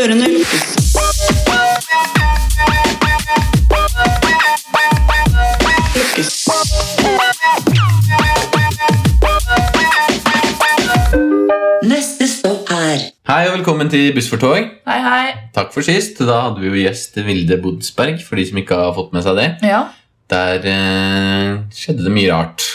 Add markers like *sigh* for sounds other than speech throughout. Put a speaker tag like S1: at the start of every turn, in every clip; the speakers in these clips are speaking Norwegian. S1: Ørene lukkes. Lukkes. Neste stopp er
S2: Hei og velkommen til Buss for tog.
S3: Hei, hei.
S2: Takk for sist. Da hadde vi jo gjest Vilde Bodsberg, for de som ikke har fått med seg det.
S3: Ja.
S2: Der eh, skjedde det mye rart.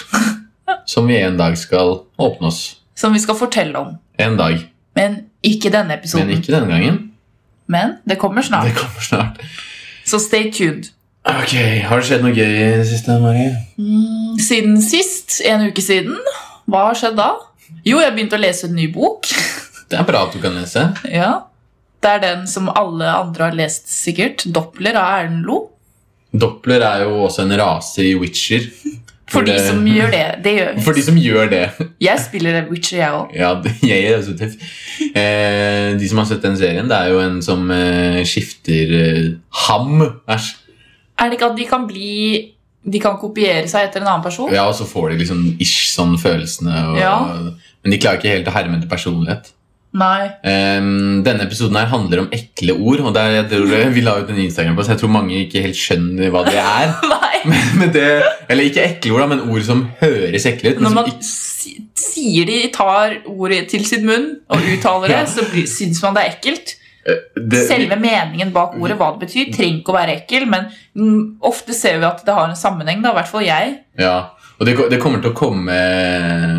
S2: Som vi en dag skal åpne oss.
S3: Som vi skal fortelle om.
S2: En dag.
S3: Men ikke denne episoden.
S2: Men
S3: Men,
S2: ikke denne gangen.
S3: det kommer
S2: Det
S3: snart.
S2: kommer snart.
S3: Så stay tuned.
S2: Ok, Har det skjedd noe gøy i det siste? Marie?
S3: Mm, Siden sist, en uke siden, hva har skjedd da? Jo, jeg begynte å lese en ny bok. *laughs*
S2: Det er bra at du kan lese.
S3: Ja. Det er den som alle andre har lest, sikkert. 'Doppler' av Erlend Lo.
S2: Doppler er jo også en rase i Witcher.
S3: For de som gjør det. Det gjør
S2: For de som gjør det. *laughs*
S3: Jeg spiller Witcher, jeg òg.
S2: Ja, det- jeg er også tøff. Eh, de som har sett den serien, det er jo en som eh, skifter eh, ham. Æsj.
S3: Er det ikke at de kan bli De kan kopiere seg etter en annen person?
S2: Ja, og så får de liksom ish sånn følelsene. Og,
S3: Ja.
S2: Men de klarer ikke helt å herme til personlighet.
S3: Nei. *laughs*
S2: Ehm, denne episoden her handler om ekle ord, og der, jeg tror, vi la ut en Instagram på, så jeg tror mange ikke helt skjønner hva det er. *laughs*
S3: Nei.
S2: Men, men det, eller ikke ekle ord, da, men ord som høres ekle ut. Men
S3: Når
S2: som
S3: man
S2: ikke,
S3: si- sier de tar ordet til sin munn og uttaler det, så blir- syns man det er ekkelt.
S2: det,
S3: Selve meningen bak ordet, hva det betyr, trenger ikke å være ekkel, men mm, ofte ser vi at det har en sammenheng, da, i hvert fall jeg.
S2: Ja, og det, ko- det kommer til å komme,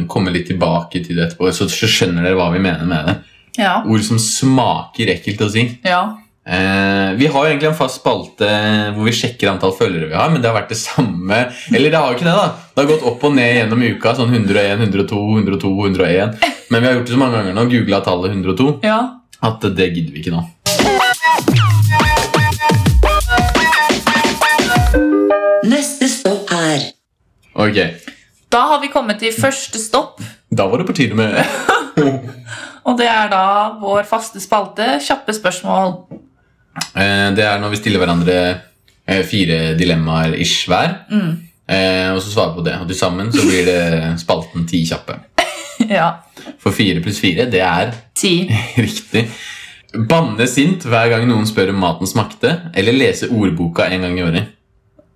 S2: komme litt tilbake til det etterpå, så, så skjønner dere hva vi mener med det.
S3: Ja.
S2: Ord som smaker ekkelt å si.
S3: Ja.
S2: Eh, vi har jo egentlig en fast spalte hvor vi sjekker antall følgere vi har, men det har vært det samme Eller det har jo ikke det, da. Det har gått opp og ned gjennom uka. Sånn 101, 102, 102, 101. Men vi har gjort det så mange ganger nå, googla tallet 102,
S3: ja.
S2: at det gidder vi ikke nå.
S1: Neste stopp er
S2: Ok,
S3: Da har vi kommet til første stopp,
S2: da var det på tide med *laughs*
S3: og det er da vår faste spalte, kjappe spørsmål. *laughs*
S2: Eh, Det er når vi stiller hverandre eh, fire dilemmaer ish hver.
S3: Mm.
S2: Eh, og så svarer vi på det. Og til sammen så blir det spalten ti kjappe.
S3: Ja.
S2: For fire pluss fire, det er
S3: Ti.
S2: *laughs* riktig. Banne sint hver gang noen spør om maten smakte, eller lese ordboka en gang i året.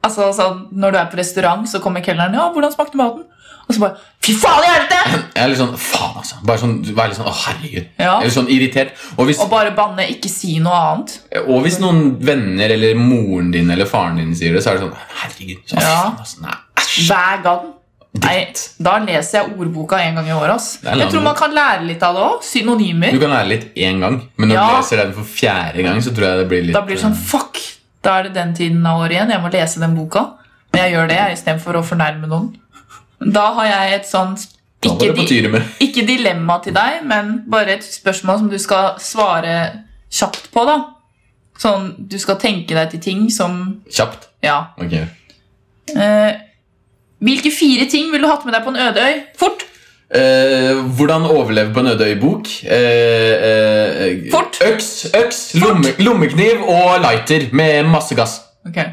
S3: Altså, sånn, Når du er på restaurant, så kommer kelneren ja, 'Hvordan smakte maten?' Og så bare 'Fy faen i
S2: *laughs*
S3: helvete!'
S2: Jeg er litt sånn faen, altså. Bare sånn, vær litt sånn å herregud.
S3: Ja.
S2: Eller sånn irritert. Og hvis,
S3: Og bare banne, ikke si noe annet.
S2: og hvis noen venner eller moren din eller faren din sier det, så er det sånn herregud. Så,
S3: Ja.
S2: faen, altså, nei, æsj.
S3: Hver gang. Nei, da leser jeg ordboka en gang i året. ass.
S2: er lang
S3: Jeg tror man kan lære litt av det òg.
S2: Du
S3: Synonymer.
S2: kan lære litt én gang, men når du
S3: Ja.
S2: leser den for fjerde gang, så tror jeg det blir litt
S3: Da blir det sånn fuck! Da er det den tiden av året igjen. Jeg må lese den boka. Men jeg gjør det jeg, istedenfor å fornærme noen. Da har jeg et sånt
S2: eh, Da var
S3: ikke,
S2: det på
S3: di
S2: tide med
S3: ikke dilemma til deg, men bare et spørsmål som du skal svare kjapt på. da. Sånn, Du skal tenke deg til ting som
S2: Kjapt.
S3: Ja.
S2: Ok.
S3: Eh, hvilke fire ting ville du hatt med deg på en øde øy? Fort!
S2: Eh, hvordan overleve på en øde øy-bok. Eh, eh,
S3: Fort.
S2: Øks, øks lomme, lommekniv og lighter med masse gass.
S3: Ok.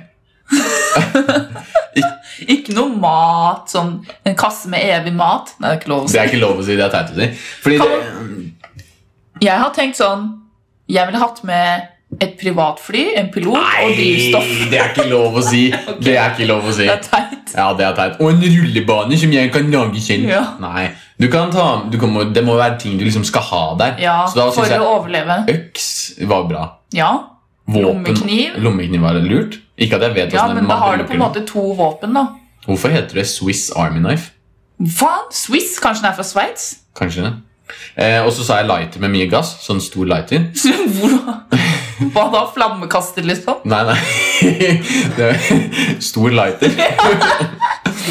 S3: *laughs* ikke noe mat, sånn en kasse med evig mat. Nei, det er ikke lov å
S2: Det
S3: si.
S2: er ikke lov å si. Det er teit å si. Fordi det,
S3: Jeg har tenkt sånn Jeg ville hatt med et privatfly, en pilot og drivstoff.
S2: Nei, det er ikke lov å
S3: *laughs*
S2: si. Det er ikke lov å si.
S3: Det er teit.
S2: Ja, det er teit. Og en rullebane som jeg kan lage selv.
S3: Ja.
S2: Nei. Du kan ta, du kan, må- det må være ting du liksom skal ha der.
S3: Ja,
S2: Så da
S3: for
S2: syns jeg
S3: å overleve.
S2: øks var bra.
S3: Ja,
S2: Våpen,
S3: Lommekniv.
S2: Lommekniv var lurt. Ikke at jeg vet
S3: ja
S2: hvordan
S3: men
S2: man
S3: da har du
S2: bruker
S3: på en måte to våpen, da.
S2: den. Hvorfor heter det Swiss Army Knife?
S3: Faen! Swiss? Kanskje den er fra Sveits? *laughs*
S2: Kanskje det. Eh, og så sa jeg lighter med mye gass. Sånn stor lighter.
S3: Hva da? Flammekaster, liksom?
S2: Nei, *laughs* nei. Det er, stor lighter.
S3: Det er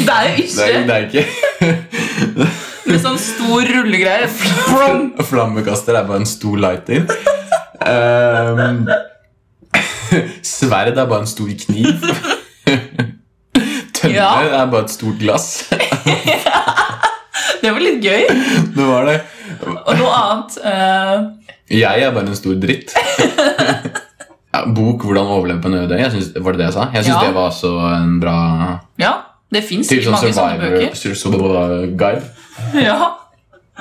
S3: jo
S2: Det er,
S3: ikke
S2: det er ikke
S3: med sånn stor rullegreie. Brum!
S2: Flammekaster er bare en stor lighter. Ehm, sverd er bare en stor kniv. *laughs* Tønne
S3: Ja.
S2: er bare et stort glass.
S3: Det var litt gøy.
S2: Det var det.
S3: Og noe annet eh,
S2: Jeg er bare en stor
S3: *laughs*
S2: dritt. Ja, bok 'Hvordan overleve på en øde øy'. Jeg synes- Var det det jeg sa? Jeg syns
S3: Ja.
S2: det var også en bra
S3: Ja, det fins
S2: Til
S3: ikke
S2: sånn
S3: mange sånne
S2: survivor
S3: bøker.
S2: survival guide.
S3: Ja.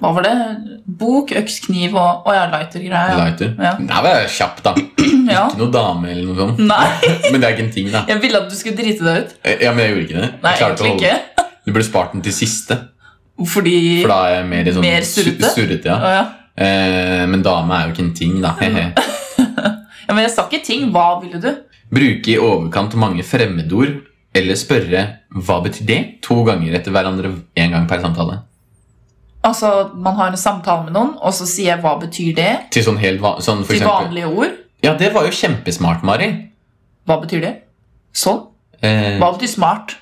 S3: Hva var det? Bok, øks, kniv og, og ja, lighter-greia.
S2: Lighter.
S3: Ja.
S2: Nei, vær kjapp, da. Ikke
S3: *laughs* Ja.
S2: noe dame eller noe sånt.
S3: Nei,
S2: Men det er ikke en ting, da.
S3: jeg ville at du skulle drite deg ut.
S2: Ja, men jeg gjorde ikke det.
S3: Nei,
S2: Jeg klarte å
S3: egentlig
S2: holde-
S3: ikke.
S2: Du burde spart den til siste.
S3: Fordi
S2: For da er jeg mer, i sånn
S3: Mer surrete?
S2: sur- surrete
S3: Å
S2: ja.
S3: ja.
S2: eh, men dame er jo ikke en ting,
S3: Mm.
S2: da.
S3: ja, Men jeg sa ikke ting. Hva ville du?
S2: Bruke i overkant mange fremmedord eller spørre 'hva betyr det?' to ganger etter hverandre én gang per samtale.
S3: Altså, Man har en samtale med noen, og så sier jeg 'hva betyr det?'
S2: Til sånn helt va sånn for
S3: til
S2: eksempel-
S3: vanlige ord.
S2: Ja, det var jo kjempesmart, Mari.
S3: Hva betyr det? Sånn.
S2: Eh,
S3: Hva betyr smart?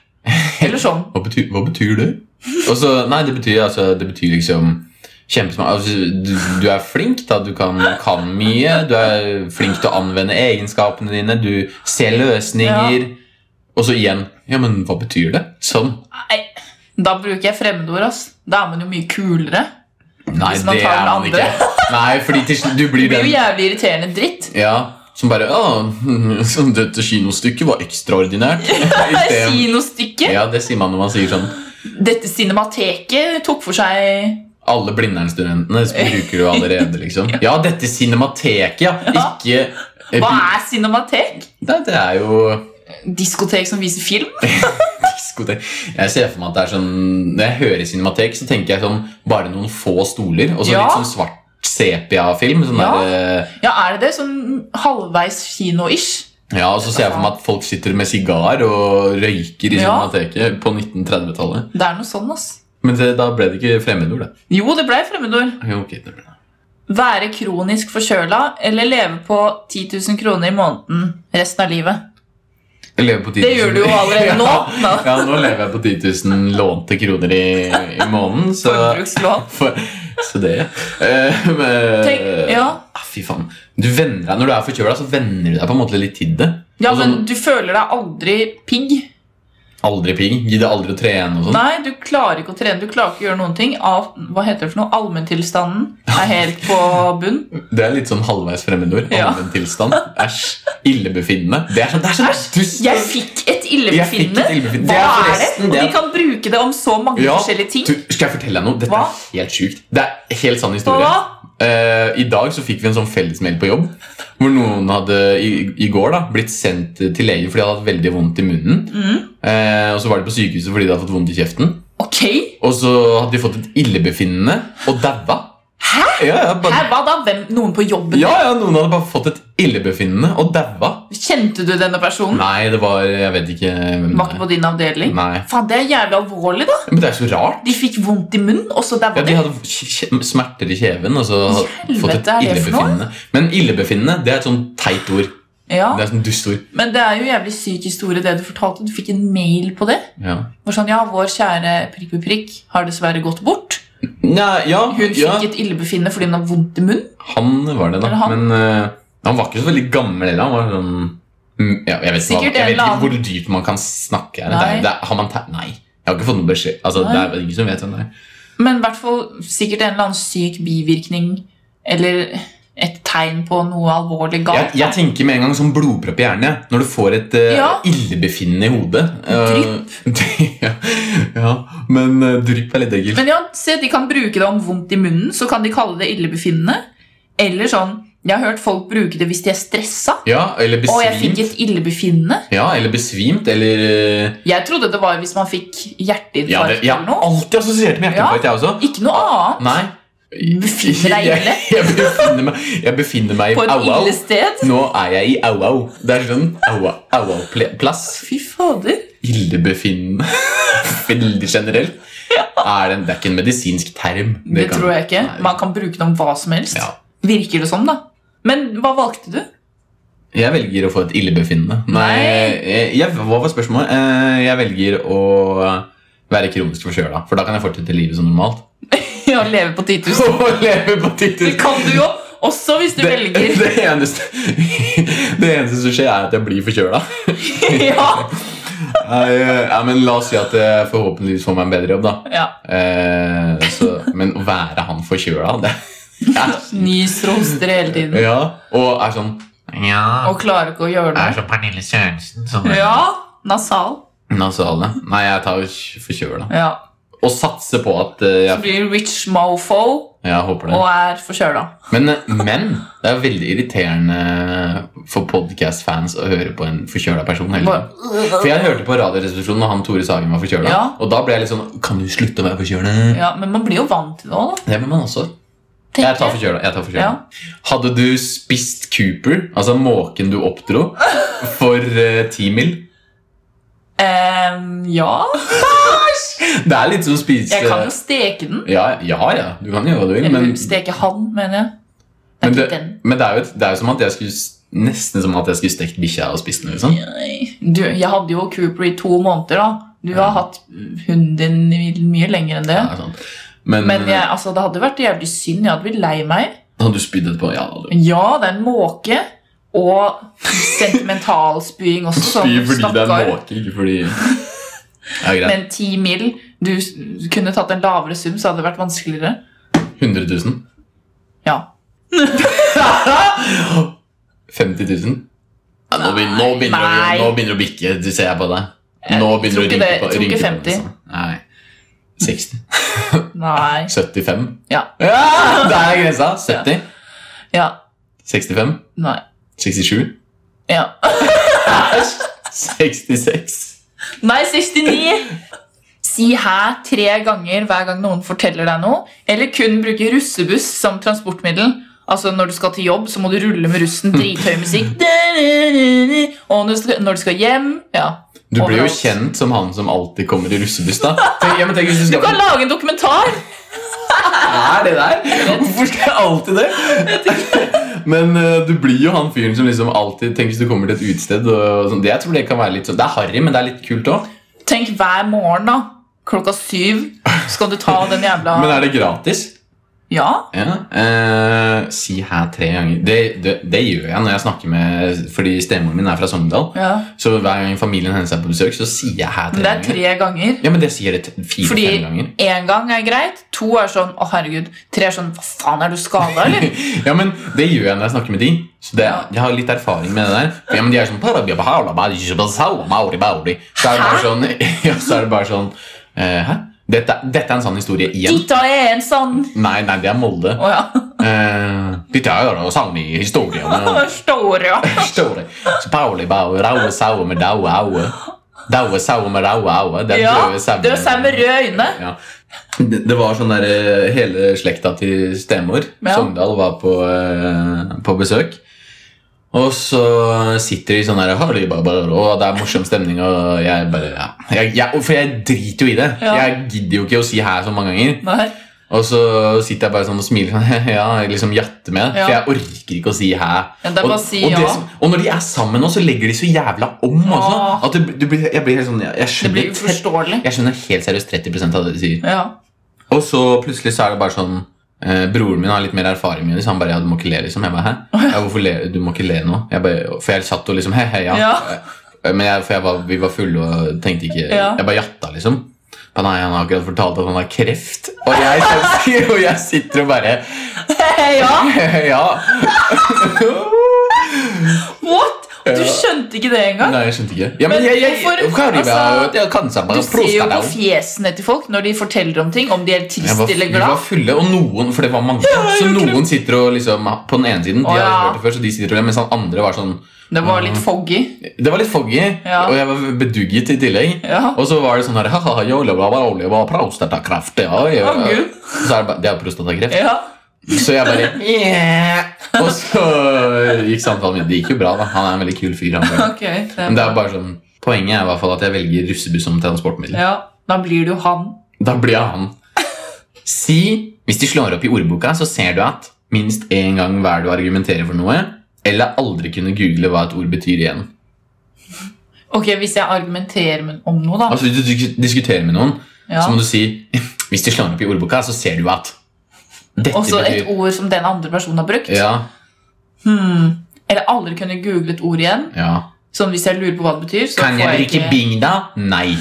S3: Eller sånn.
S2: hva, betyr, hva betyr det? Og så, nei, det betyr, altså, det betyr liksom kjempesmart altså, du, du er flink, da. Du kan, kan mye. Du er flink til å anvende egenskapene dine. Du ser løsninger. Og så igjen Ja, men hva betyr det? Sånn.
S3: Nei, da bruker jeg fremmedord. ass. Da er man jo mye kulere.
S2: Nei,
S3: Hvis man
S2: det
S3: tar
S2: er
S3: den
S2: man
S3: andre.
S2: ikke. *laughs* Nei, fordi til slutt du
S3: Det
S2: blir
S3: blir jo
S2: den
S3: jævlig irriterende dritt.
S2: Ja, som bare Å, *laughs* sånn, dette kinostykket var
S3: *laughs*
S2: ekstraordinært. I stedet-
S3: Kinostykket.
S2: ja, det sier man når man sier sånn.
S3: Dette cinemateket tok for seg
S2: Alle Blindern-studentene
S3: *laughs*
S2: bruker du allerede, liksom. Ja, dette cinemateket, ja.
S3: Ja.
S2: Ikke eh,
S3: Hva er cinematek?
S2: Nei, det er jo
S3: Diskotek som viser film?
S2: diskotek. Jeg ser for meg at det er sånn Når jeg hører cinematek, så tenker jeg sånn bare noen få stoler, og så
S3: Ja.
S2: litt sånn svart sepia-film. Sånn
S3: Ja.
S2: der, eh,
S3: Ja, er det det? Sånn halvveis kino-ish?
S2: Ja, og så ser jeg for meg at folk sitter med sigar og røyker i
S3: Ja.
S2: cinemateket på 1930-tallet.
S3: Det er noe sånn, ass.
S2: Men det, da ble det ikke fremmedord, da.
S3: Jo, det blei fremmedord.
S2: Ja, ok, det ble det.
S3: Være kronisk forkjøla eller leve på 10 000 kroner i måneden resten av livet?
S2: Jeg lever på 10 000.
S3: Det gjør du jo allerede nå.
S2: *laughs* ja, ja, nå lever jeg på 10 000 lånte kroner i, i måneden, så
S3: Forbrukslån.
S2: for, Så det, Eh, men,
S3: Tenk- ja.
S2: Ah, Fy faen. Du venner deg, når du er forkjøla, så venner du deg på en måte litt til det.
S3: Ja,
S2: Og
S3: men
S2: sånn,
S3: du føler deg aldri pigg.
S2: Aldri pigg. Gidder aldri å trene og sånn.
S3: Nei, du klarer ikke å trene. Du klarer ikke å gjøre noen ting. Av, hva heter det for noe? Allmenntilstanden er helt på bunn.
S2: Det er litt sånn halvveis fremmedord.
S3: Ja.
S2: Allmenntilstand. Æsj. Illebefinnende. Det er sånn, det er sånn dust.
S3: Jeg
S2: Jeg
S3: fikk et
S2: fikk et
S3: illebefinnende.
S2: illebefinnende.
S3: Hva
S2: Det er
S3: er det?
S2: forresten
S3: Og
S2: det
S3: de
S2: at-
S3: kan bruke det om så mange
S2: Ja,
S3: forskjellige ting.
S2: Du, skal jeg fortelle deg noe? Dette
S3: Hva?
S2: er helt sjukt. Det er helt sann
S3: Og
S2: historie.
S3: hva?
S2: Eh, I dag så fikk vi en sånn fellesmeld på jobb. Hvor noen hadde i, i går da blitt sendt til legen fordi de hadde hatt veldig vondt i munnen.
S3: Mm.
S2: Eh, og så var de på sykehuset fordi de hadde fått vondt i kjeften.
S3: Ok.
S2: Og så hadde de fått et illebefinnende og daua.
S3: Hæ?
S2: Ja, ja, bare,
S3: Her, hva da? Hvem, noen på jobben?
S2: ja, ja, noen hadde bare fått et illebefinnende og daua.
S3: Kjente du denne personen?
S2: Nei, det var Jeg vet ikke hvem
S3: Var ikke på din avdeling?
S2: Nei.
S3: Faen, det er jævlig alvorlig, da.
S2: Men det er så rart.
S3: De fikk vondt i munnen, og så
S2: Ja,
S3: daua
S2: De
S3: de.
S2: hadde kje- kje- smerter i kjeven og så
S3: Helvete,
S2: fått et
S3: er det for noe?
S2: illebefinnende. Men illebefinnende det er et sånn teit ord.
S3: Ja.
S2: Det er et sånn dustord.
S3: Men det er jo jævlig syk historie, det du fortalte. Du fikk en mail på det.
S2: Ja.
S3: Hvor sånn, ja, vår kjære prikk på prikk har dessverre gått bort.
S2: Nei, ja,
S3: Hun fikk
S2: ja.
S3: et illebefinnende fordi hun har vondt i munnen.
S2: Han var det, da.
S3: Eller han.
S2: Men eh, han var ikke så veldig gammel heller. Han var sånn mm, ja, Jeg vet, ikke hva-
S3: Sikkert
S2: jeg
S3: en
S2: vet
S3: eller
S2: ikke hvor dyrt man kan snakke. her. Det
S3: Nei.
S2: er, det er, har man te- Nei. Jeg har ikke fått noen beskjed. Altså, det er ingen som vet hvem det er.
S3: Men i hvert fall sikkert en eller annen syk bivirkning eller et tegn på noe alvorlig
S2: Jeg,
S3: galt.
S2: jeg tenker med en gang sånn blodpropp i hjernen. jeg. Når du får et eh,
S3: Ja.
S2: illebefinnende i hodet. Eh, *laughs* ja, ja, men eh, drypp er litt ekkelt.
S3: Men ja, se, de kan bruke det om vondt i munnen, så kan de kalle det illebefinnende. Eller sånn, jeg har hørt folk bruke det hvis de er stressa.
S2: Ja, eller
S3: Og jeg fikk
S2: besvimt.
S3: et illebefinnende.
S2: Ja, eller besvimt, eller eh,
S3: Jeg trodde det var hvis man fikk
S2: ja,
S3: hjerteinfarkt
S2: det, Jeg
S3: eller
S2: har
S3: noe.
S2: alltid assosiert med hjerteinfarkt, jeg også.
S3: Ikke noe annet.
S2: Nei.
S3: Befinner deg ille?
S2: Jeg, jeg, befinner meg, jeg befinner meg i
S3: På et
S2: au-au.
S3: ille sted.
S2: Nå er jeg i au-au. Det er sånn au-au-plass.
S3: Fy fader.
S2: Illebefinnende. *laughs* Veldig generelt. Er det, en, det er ikke en medisinsk term.
S3: Det, tror jeg ikke.
S2: Nei.
S3: Man kan bruke det om hva som helst.
S2: Ja.
S3: Virker det som, da. Men hva valgte du? *laughs*
S2: Jeg velger å få et illebefinnende. Nei,
S3: Nei.
S2: jeg, jeg, Hva var spørsmålet? Eh, Jeg velger å være kronisk forkjøla, for da kan jeg fortsette livet som
S3: *laughs*
S2: normalt.
S3: Å leve på 10
S2: *laughs*
S3: 000?
S2: Og leve på
S3: Det
S2: tittel.
S3: kan du jo også hvis du
S2: Det,
S3: velger.
S2: *laughs* det, eneste, det eneste *laughs* som skjer, er at jeg blir forkjøla.
S3: *laughs* ja.
S2: Nei, eh, ja, men La oss si at jeg forhåpentligvis får meg en bedre jobb. da
S3: ja.
S2: eh, så, Men å være han forkjøla det, det er,
S3: Ny strålster hele tiden.
S2: Ja, Og er sånn Ja,
S3: Og klarer ikke å gjøre
S2: jeg er
S3: noe.
S2: som Pernille Sørensen. Sånn.
S3: Ja. Nasal.
S2: Nasale. Nei, jeg tar jo forkjøla.
S3: Ja.
S2: Og satse på at eh,
S3: Så
S2: jeg,
S3: blir du rich mofo
S2: jeg håper det.
S3: og er forkjøla.
S2: Men, eh, men det er veldig irriterende for podcast-fans å høre på en forkjøla person. hele tiden. For jeg hørte på Radioresepsjonen når han Tore Sagen var forkjøla.
S3: Ja.
S2: Og da ble jeg litt sånn Kan du slutte å være forkjøla?
S3: Ja, men man blir jo vant til det òg, da.
S2: Det må man også.
S3: tenker
S2: Jeg tar forkjøla. jeg tar forkjøla.
S3: Ja.
S2: Hadde du spist Cooper, altså måken du oppdro, for eh, 10 mil
S3: Em, Ehm, ja.
S2: Det er litt som å spise
S3: Jeg kan jo steke den.
S2: ja, ja, ja, du kan gjøre hva du vil, men,
S3: Eller steke han, mener jeg.
S2: men,
S3: Det er
S2: det,
S3: ikke den.
S2: men det, er jo, et- det er jo som at jeg skulle s- nesten som at jeg skulle stekt bikkja og spist den. Liksom.
S3: Du, jeg hadde jo Cooper i to måneder, da. Du har
S2: Ja.
S3: hatt hunden din i mye lenger enn det.
S2: Ja, sant. Men, eh,
S3: Men jeg, altså, det hadde vært jævlig synd. Jeg hadde blitt lei meg.
S2: hadde du spydd etterpå? Ja, da hadde du.
S3: Ja, det er en måke. Og sentimentalspying også. Sånn,
S2: Spy fordi det er
S3: stakkar.
S2: måke, ikke fordi
S3: *laughs*
S2: ja, greit.
S3: Men ti mil Du s- kunne tatt en lavere sum, så hadde det vært vanskeligere.
S2: 100 000?
S3: Ja.
S2: 50 000? Ja, nå, begynner, nå, begynner
S3: Nei.
S2: Du, nå begynner du å bikke, du ser jeg på deg.
S3: Jeg
S2: Nå begynner du
S3: tror
S2: å
S3: ikke
S2: rynke
S3: det-
S2: på
S3: tror ikke
S2: rynke på
S3: 50.
S2: nesa. Nei.
S3: *laughs*
S2: 60?
S3: Nei.
S2: 75?
S3: Ja.
S2: ja! Der er grensa! 70?
S3: Ja.
S2: 65?
S3: Nei.
S2: 67?
S3: Ja. *laughs*
S2: 66?
S3: Nei, 69! Si hæ tre ganger hver gang noen forteller deg noe. Eller kun bruke russebuss som transportmiddel. Altså Når du skal til jobb, så må du rulle med
S2: *laughs*
S3: russen. Drithøy musikk. Og når du skal, når du skal hjem Ja.
S2: Du blir jo
S3: Overalt.
S2: kjent som han som alltid kommer i russebuss,
S3: *laughs*
S2: da. Tenk, ja, men tenk hvis du
S3: Du
S2: skal
S3: kan lage en dokumentar!
S2: er det der? Hvorfor skal jeg alltid det? Men eh, du blir jo han fyren som liksom alltid Tenk hvis du kommer til et utested og sånn. Det, jeg tror det kan være litt sånn Det er harry, men det er litt kult òg.
S3: Tenk hver morgen, da. Klokka syv skal du ta den jævla
S2: Men er det gratis?
S3: Ja.
S2: Ja. eh, si her tre ganger. Det, det, det gjør jeg når jeg snakker med Fordi stemoren min er fra Sogndal.
S3: ja.
S2: Så hver gang familien hennes er på besøk, så sier jeg her
S3: Men
S2: tre
S3: det
S2: ganger.
S3: er tre ganger.
S2: Ja, men det sier jeg
S3: Fordi
S2: fire-fem ganger. *laughs*
S3: én gang er greit, to er sånn 'Å, herregud'. Tre er sånn 'Hva faen, er du
S2: *laughs*
S3: skada, eller?'
S2: Ja, men Det gjør jeg når jeg snakker med de. Så det, Jeg har litt erfaring med det der. For, ja, men de er sånn Så er det bare sånn, *laughs* ja, så er det bare sånn eh, Hæ? Dette, dette er en sann historie igjen.
S3: Dette er en sånn
S2: Nei, nei, det er Molde.
S3: Å ja.
S2: Eh, dette er jo sann
S3: *laughs*
S2: historie.
S3: Det står, ja.
S2: Står det. Så Pauli bare Raue saue med daue aue. Daue saue med raue aue. Den
S3: ja.
S2: døde sauen.
S3: Død sau med røde øyne.
S2: Ja. Det, det var sånn der eh, hele slekta til stemor,
S3: Ja.
S2: Sogndal, var på, eh, på besøk. Og så sitter de sånn her «Hallo, Barbara», Og det er morsom stemning, og jeg bare ja. jeg, jeg, For jeg driter jo i det.
S3: Ja.
S2: Jeg gidder jo ikke å si her så mange ganger.
S3: Nei.
S2: Og så sitter jeg bare sånn og smiler sånn, *laughs* ja, jeg liksom jatter med. For
S3: Ja.
S2: jeg orker ikke å si hæ.
S3: Ja, det er
S2: og,
S3: bare å si
S2: og, det
S3: ja.
S2: som- og når de er sammen nå, så legger de så jævla om også.
S3: Åh.
S2: At det, du blir, jeg blir helt sånn Jeg, jeg
S3: Det blir
S2: skjønner
S3: uforståelig.
S2: jeg skjønner helt seriøst 30 av det de sier.
S3: Ja. *laughs*
S2: Og så plutselig så er det bare sånn eh, Broren min har litt mer erfaring med det, så han bare ja, du må ikke le, liksom. Jeg bare, hæ? Ja, hvorfor le? Du må ikke le nå. Jeg bare, for jeg satt og liksom he, he, ja. Eh,
S3: Ja.
S2: Men jeg, for jeg var, vi var fulle og tenkte ikke
S3: Ja.
S2: Jeg bare jatta, liksom. Men nei, han har akkurat fortalt at han har kreft. Og jeg, og jeg sitter og bare *laughs*
S3: ja.
S2: Ja.
S3: What? Du skjønte ikke det engang?
S2: Nei, jeg skjønte ikke. Ja,
S3: Men
S2: men jeg, jeg,
S3: hvorfor-
S2: jeg, Kariba,
S3: altså,
S2: jeg kan sammen,
S3: Du ser jo på
S2: prostata.
S3: fjesene til folk når de forteller om ting, om de er
S2: Jeg
S3: trist
S2: var,
S3: eller
S2: vi var
S3: glad.
S2: fulle, og noen For det var mange. så noen sitter og liksom På den ene siden, de
S3: Å,
S2: hadde
S3: ja.
S2: hørt det før, så de sitter og ler, mens han andre var sånn
S3: Det var litt foggy.
S2: Det var litt foggy,
S3: Ja.
S2: og jeg var bedugget i tillegg.
S3: Ja.
S2: Og så var det sånn her «Haha, jole, bla, bla, bla, bla, Prostatakreft. Ja, ja.
S3: Å, Gud.
S2: Så er det bare Det er prostatakreft.
S3: Ja.
S2: Så jeg bare
S3: *laughs*
S2: «Yeah». Og så gikk samtalen min. Det gikk jo bra, da. Han er en veldig kul fyr. Han.
S3: *laughs*
S2: bare.
S3: Ok. det er
S2: Men det
S3: bra.
S2: er bare sånn Poenget er i hvert fall at jeg velger russebuss som transportmiddel.
S3: Ja. Da blir det jo han.
S2: Da blir jeg han. Si Hvis de slår opp i ordboka, så ser du at minst én gang hver du argumenterer for noe, eller aldri kunne google hva et ord betyr igjen.
S3: Ok, Hvis jeg argumenterer med- om noe, da.
S2: Altså Hvis du dis- diskuterer med noen,
S3: Ja.
S2: så må du si Hvis du slår opp i ordboka, så ser du at dette
S3: Også et
S2: betyr
S3: ord som den andre personen har brukt.
S2: ja,
S3: Hmm. Eller aldri kunne google et ord igjen.
S2: ja.
S3: Sånn hvis jeg lurer på hva det betyr. Så
S2: Kan
S3: får
S2: jeg bruke
S3: ikke-
S2: bing, da?
S3: *laughs*
S2: Nei.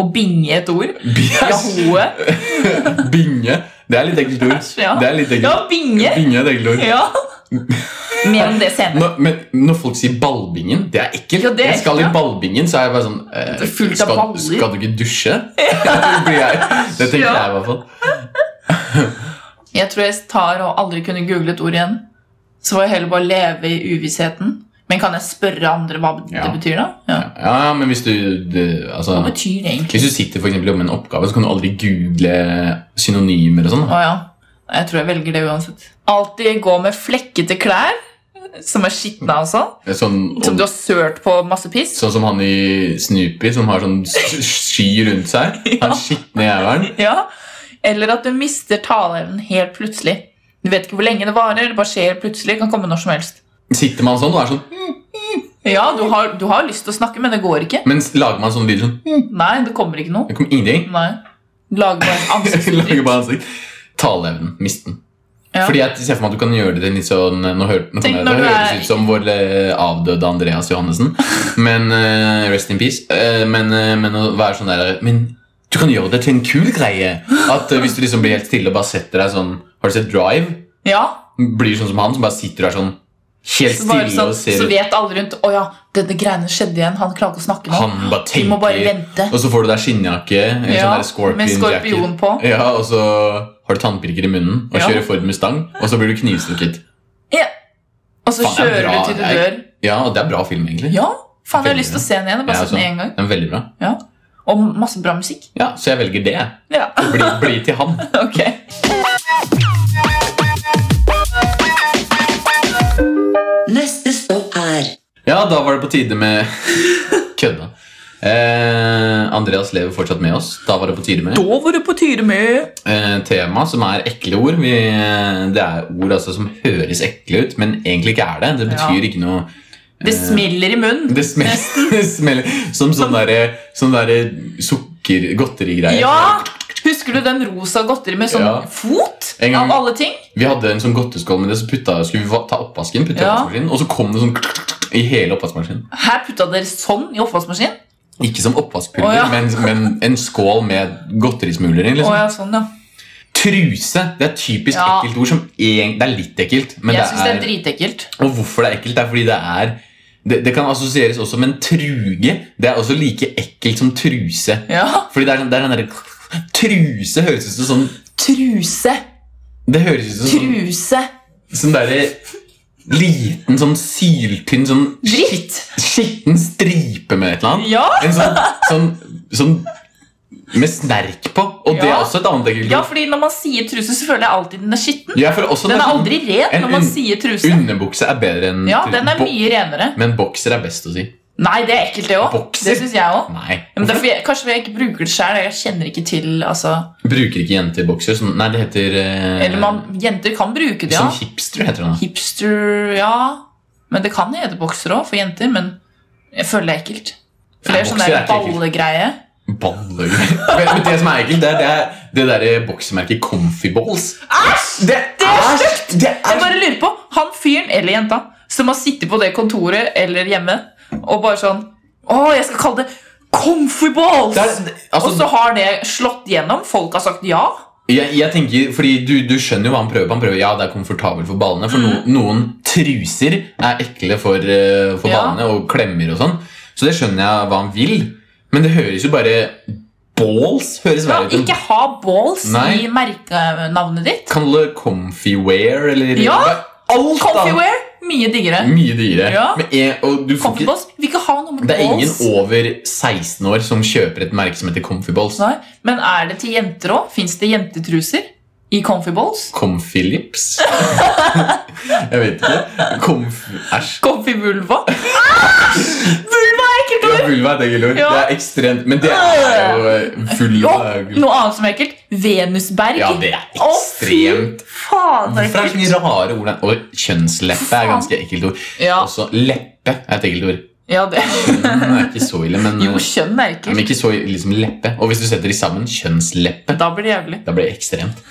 S3: Å binge et ord?
S2: Yes.
S3: Jahoe?
S2: Binge. Det er litt ekkelt ord.
S3: Ja.
S2: Det er litt
S3: Ja,
S2: ekkelt.
S3: binge!
S2: Binge er et ekkelt ord.
S3: Ja. Mer om det senere.
S2: Når, men når folk sier ballbingen, det er ekkelt.
S3: Ja, det er
S2: jeg skal i
S3: ekkelt, ja.
S2: ballbingen, så er jeg bare sånn eh,
S3: Det er fullt av
S2: skal,
S3: baller.
S2: skal du ikke
S3: *laughs*
S2: dusje? Det blir jeg- det tenker
S3: Ja.
S2: jeg i hvert fall.
S3: Jeg tror jeg tar og aldri kunne google et ord igjen. Så får jeg heller bare leve i uvissheten. Men kan jeg spørre andre hva det
S2: Ja.
S3: betyr, da? Ja.
S2: Ja, ja, men hvis du, du altså,
S3: Hva betyr det egentlig?
S2: Hvis du sitter for eksempel om en oppgave, så kan du aldri google synonymer og sånn. da.
S3: Å ja. Jeg tror jeg velger det uansett. Alltid gå med flekkete klær som er skitne og sånn.
S2: Sånn,
S3: Som du
S2: og,
S3: har sølt på masse piss.
S2: sånn som han i Snoopy, som har sånn s- sky rundt seg.
S3: *laughs*
S2: Han skitne jævelen.
S3: Ja. Eller at du mister taleevnen helt plutselig. Du vet ikke hvor lenge det varer. Det bare skjer plutselig. Kan komme når som helst.
S2: Sitter man sånn og er sånn,
S3: Ja, du har, du har lyst til å snakke, men det går ikke.
S2: mens lager man sånn lyd sånn
S3: Nei, det kommer ikke noe.
S2: Det kom ingenting.
S3: Nei. Lager bare
S2: *laughs*
S3: et
S2: Lager
S3: ansiktsuttrykk.
S2: bare ansikt. Taleevnen. Miste den.
S3: Ja.
S2: Fordi jeg ser for meg at du kan gjøre det til en litt sånn Nå, hør, nå,
S3: Tenk
S2: kommer jeg-
S3: når
S2: nå
S3: du
S2: høres
S3: er-
S2: det ut som vår eh, avdøde Andreas Johannessen. Men eh, Rest in peace. Eh, men, eh, men å være sånn der Men du kan gjøre det til en kul greie. At eh, Hvis du liksom blir helt stille og bare setter deg sånn Har du sett Drive?
S3: Ja,
S2: Blir sånn som han som bare sitter der sånn helt
S3: så, bare
S2: stille
S3: sånn,
S2: og ser
S3: så vet alle rundt Å ja, denne greiene skjedde igjen. Han klarer ikke å snakke nå.
S2: Han bare
S3: Vi må bare
S2: tenker.
S3: vente.
S2: Og så får du deg skinnjakke. En
S3: Ja,
S2: sånn der scorpion
S3: med
S2: jacket.
S3: skorpion på.
S2: Ja, og så har du tannpirker i munnen og
S3: Ja.
S2: kjører Ford Mustang, og så blir du knivstukket.
S3: Og så
S2: Faen, det er
S3: kjører
S2: bra,
S3: du til du
S2: jeg-
S3: dør.
S2: Ja, og det er bra film, egentlig.
S3: Ja, faen, jeg har
S2: Veldig
S3: lyst til å se den igjen.
S2: Ja,
S3: Bare sett den
S2: altså.
S3: én gang.
S2: Den er veldig bra.
S3: Og masse bra musikk.
S2: Ja, så jeg velger det.
S3: Ja, *laughs*
S2: Bli, bli til han.
S3: ok.
S1: Neste stopp er
S2: Ja, da var det på tide med *laughs* Kødda. Eh, Andreas lever fortsatt med oss. Da var det på tide med
S3: Da var det på tide med
S2: eh, tema som er ekle ord. Vi, det er ord altså, som høres ekle ut, men egentlig ikke er det. Det betyr
S3: Ja.
S2: ikke noe
S3: Det smeller i munnen.
S2: Det smel- *laughs* det smeller som sånn derre sånn der sukker-godterigreie.
S3: Ja! Husker du den rosa godteri med sånn
S2: Ja.
S3: fot?
S2: En gang-
S3: Av alle ting?
S2: Vi hadde en sånn godteskål med det, så putta, skulle vi va- ta oppvasken, putta i
S3: Ja.
S2: oppvaskmaskinen, og så kom det sånn *laughs* i hele oppvaskmaskinen.
S3: Her putta dere sånn i oppvaskmaskinen?
S2: Ikke som oppvaskpulver,
S3: Å, ja.
S2: men, men en skål med godterismuler i.
S3: Å
S2: Liksom.
S3: ja, sånn, ja.
S2: Truse! Det er et typisk
S3: Ja.
S2: ekkelt ord. Som en, det er litt ekkelt. Men
S3: Jeg
S2: det
S3: syns det er
S2: er,
S3: dritekkelt.
S2: og hvorfor det er ekkelt, det er fordi det er det, det kan assosieres også med en truge. Det er også like ekkelt som truse.
S3: Ja.
S2: Fordi det er, sånn- det er den derre Truse høres ut som sånn
S3: Truse.
S2: Det høres ut som sånn,
S3: Truse.
S2: sånn derre liten, sånn syltynn, sånn
S3: Dritt.
S2: skitten stripe med et eller annet.
S3: Ja.
S2: En sånn, sånn, sånn med snerk på. Og det er
S3: Ja.
S2: også et annet ekkelt
S3: ja,
S2: ord.
S3: fordi når man sier truse, så føler jeg alltid den er skitten.
S2: Ja, for også
S3: Den er
S2: når-
S3: aldri ren
S2: en
S3: når man
S2: un-
S3: sier truse.
S2: Underbukse er bedre enn
S3: Ja,
S2: tru-
S3: den er
S2: bo-
S3: mye renere.
S2: Men bokser er best å si.
S3: Nei, det er ekkelt, det òg.
S2: Bokser?
S3: Det syns jeg òg.
S2: Nei.
S3: Men det er fordi jeg, kanskje fordi jeg ikke bruker det sjøl. Jeg kjenner ikke til altså
S2: Bruker ikke jenter bokser? Sånn, nei, det heter eh,
S3: Eller man, jenter kan bruke det,
S2: Sånn
S3: ja.
S2: hipster heter det. da.
S3: Hipster, ja. Men det kan hete bokser òg, for jenter. Men jeg føler det er ekkelt. For det
S2: Nei,
S3: er sånn
S2: bokser er
S3: der
S2: ikke ekkelt.
S3: ballegreie.
S2: Ballegreier. Men *laughs* men det som er ekkelt, det er det, er- det derre boksemerket Comfy Balls.
S3: Æsj!
S2: Det
S3: er
S2: stygt! Det er
S3: Jeg bare lurer på han fyren eller jenta som har sittet på det kontoret eller hjemme og bare sånn Å, jeg skal kalle det comfy balls!
S2: Det er- altså-
S3: og så har det slått gjennom. Folk har sagt ja.
S2: Jeg, jeg tenker, fordi du, du skjønner jo hva han prøver på. Han prøver, Ja, det er komfortabelt for ballene. For
S3: Mm.
S2: no, noen truser er ekle for, eh, for
S3: Ja.
S2: ballene, og klemmer og sånn. Så det skjønner jeg hva han vil. Men det høres jo bare Balls høres
S3: ja
S2: verre ut.
S3: ikke
S2: enn-
S3: ha balls
S2: Nei.
S3: i merkenavnet ditt.
S2: Kan det comfy wear, eller
S3: Ja!
S2: Det er Alt
S3: Comfy
S2: annet.
S3: wear, mye diggere.
S2: Mye dyrere.
S3: Ja.
S2: Men jeg, og du får
S3: Comfy
S2: ikke,
S3: balls, vi kan ha noe med
S2: det er ingen
S3: balls.
S2: over 16 år som kjøper et merke som heter Comfy Balls.
S3: Nei, Men er det til jenter òg? Fins det jentetruser i comfy balls?
S2: Comfy lips?
S3: *laughs*
S2: *laughs* jeg vet ikke. Comfy Æsj.
S3: Comfy vulva? Æsj! Vulva er ekkelt
S2: Ja,
S3: ord!
S2: vulva er et ekkelt ord.
S3: Ja.
S2: Det er ekstremt Men det er jo eh, vulva
S3: Og
S2: er jo-
S3: noe annet som er ekkelt. Venusberg.
S2: Ja, det er
S3: Å, fy
S2: ekstremt.
S3: faen, det er
S2: Hvorfor er det så
S3: ekkelt.
S2: mye rare ord? der? Og kjønnsleppe er ganske ekkelt ord.
S3: Ja,
S2: Også leppe er et ekkelt
S3: *laughs*
S2: ord.
S3: ja det.
S2: Den er ikke så ille, men,
S3: Jo,
S2: eh,
S3: kjønn er
S2: men
S3: ekkelt.
S2: ikke så ille, liksom leppe. Og hvis du setter de sammen, kjønnsleppe,
S3: Da blir det jævlig.
S2: da blir det ekstremt.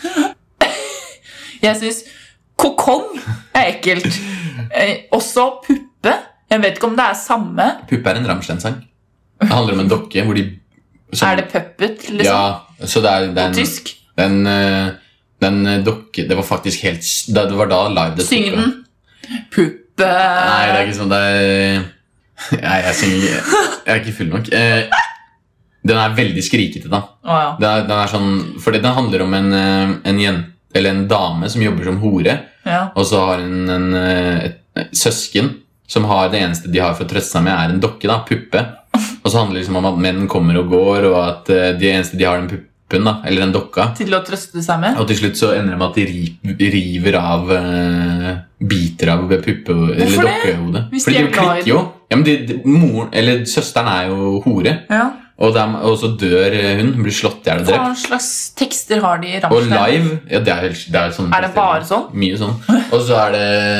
S3: Jeg syns kokong er
S2: *laughs*
S3: ekkelt. Eh, også puppe. Jeg vet ikke om det er samme.
S2: Puppe er en Rammstein-sang. Det handler om en dokke hvor de som-
S3: Er det puppet, liksom?
S2: Ja, så det er, det er
S3: På
S2: en,
S3: tysk?
S2: Den, eh, den eh, dokke Det var faktisk helt s- Det det var da live det
S3: Syng
S2: tok av.
S3: den. Puppe
S2: Nei, det er ikke sånn det er... Nei, jeg synger Jeg er ikke full nok. Eh, den er veldig skrikete, da.
S3: Å, ja.
S2: Det er, den er sånn, fordi den handler om en, eh, en jente, eller en dame som jobber som hore,
S3: ja.
S2: og så har hun en, eh, et, et søsken som har det eneste de har for å trøste seg med, er en dokke, da, puppe. Og så handler det liksom om at menn kommer og går, og at eh, de eneste de har, er den puppen, da, eller den dokka.
S3: Til å trøste seg med.
S2: Og til slutt så ender det med at de ri- river av eh, biter av puppe- eller
S3: Hvorfor det?
S2: dokkehodet.
S3: Hvis
S2: Fordi
S3: de er
S2: de
S3: glad i
S2: klikker jo. Ja, men de, de, moren, eller søsteren er jo hore,
S3: Ja.
S2: og, dem- og så dør eh, hun. Hun blir slått i hjel og
S3: Hva
S2: drept.
S3: slags tekster har de i
S2: Og
S3: Rammstein?
S2: live ja, det er, helt- det er, sånn
S3: Er det bare sånn?
S2: Mye sånn. Og så er det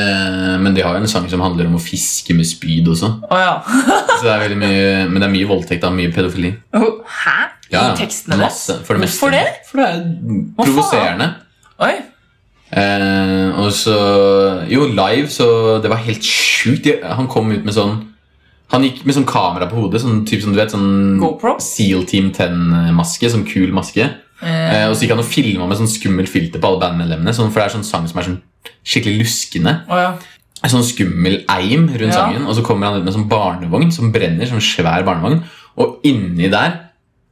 S2: Men de har jo en sang som handler om å fiske med spyd også.
S3: Å, ja. *laughs*
S2: Så det er veldig mye Men det er mye voldtekt og mye pedofili.
S3: Å, Hæ?
S2: Ja, ja.
S3: I tekstene deres?
S2: Masse, for det meste.
S3: Hvorfor det?
S2: For det er
S3: Hva faen?
S2: provoserende.
S3: Oi.
S2: Eh, og så Jo, live, så Det var helt sjukt. Jeg- Han kom ut med sånn Han gikk med sånn kamera på hodet. Sånn, typ, sånn, du vet, sånn
S3: GoPro?
S2: Seal Team 10-maske. Sånn kul maske.
S3: Eh,
S2: Eh, og så gikk han og filma med sånn skummelt filter på alle bandmedlemmene. Sånn, for det er sånn sang som er sånn skikkelig luskende.
S3: å, ja.
S2: En Sånn skummel eim rundt
S3: Ja.
S2: sangen. Og så kommer han ut med sånn barnevogn som brenner. Sånn svær barnevogn. Og inni der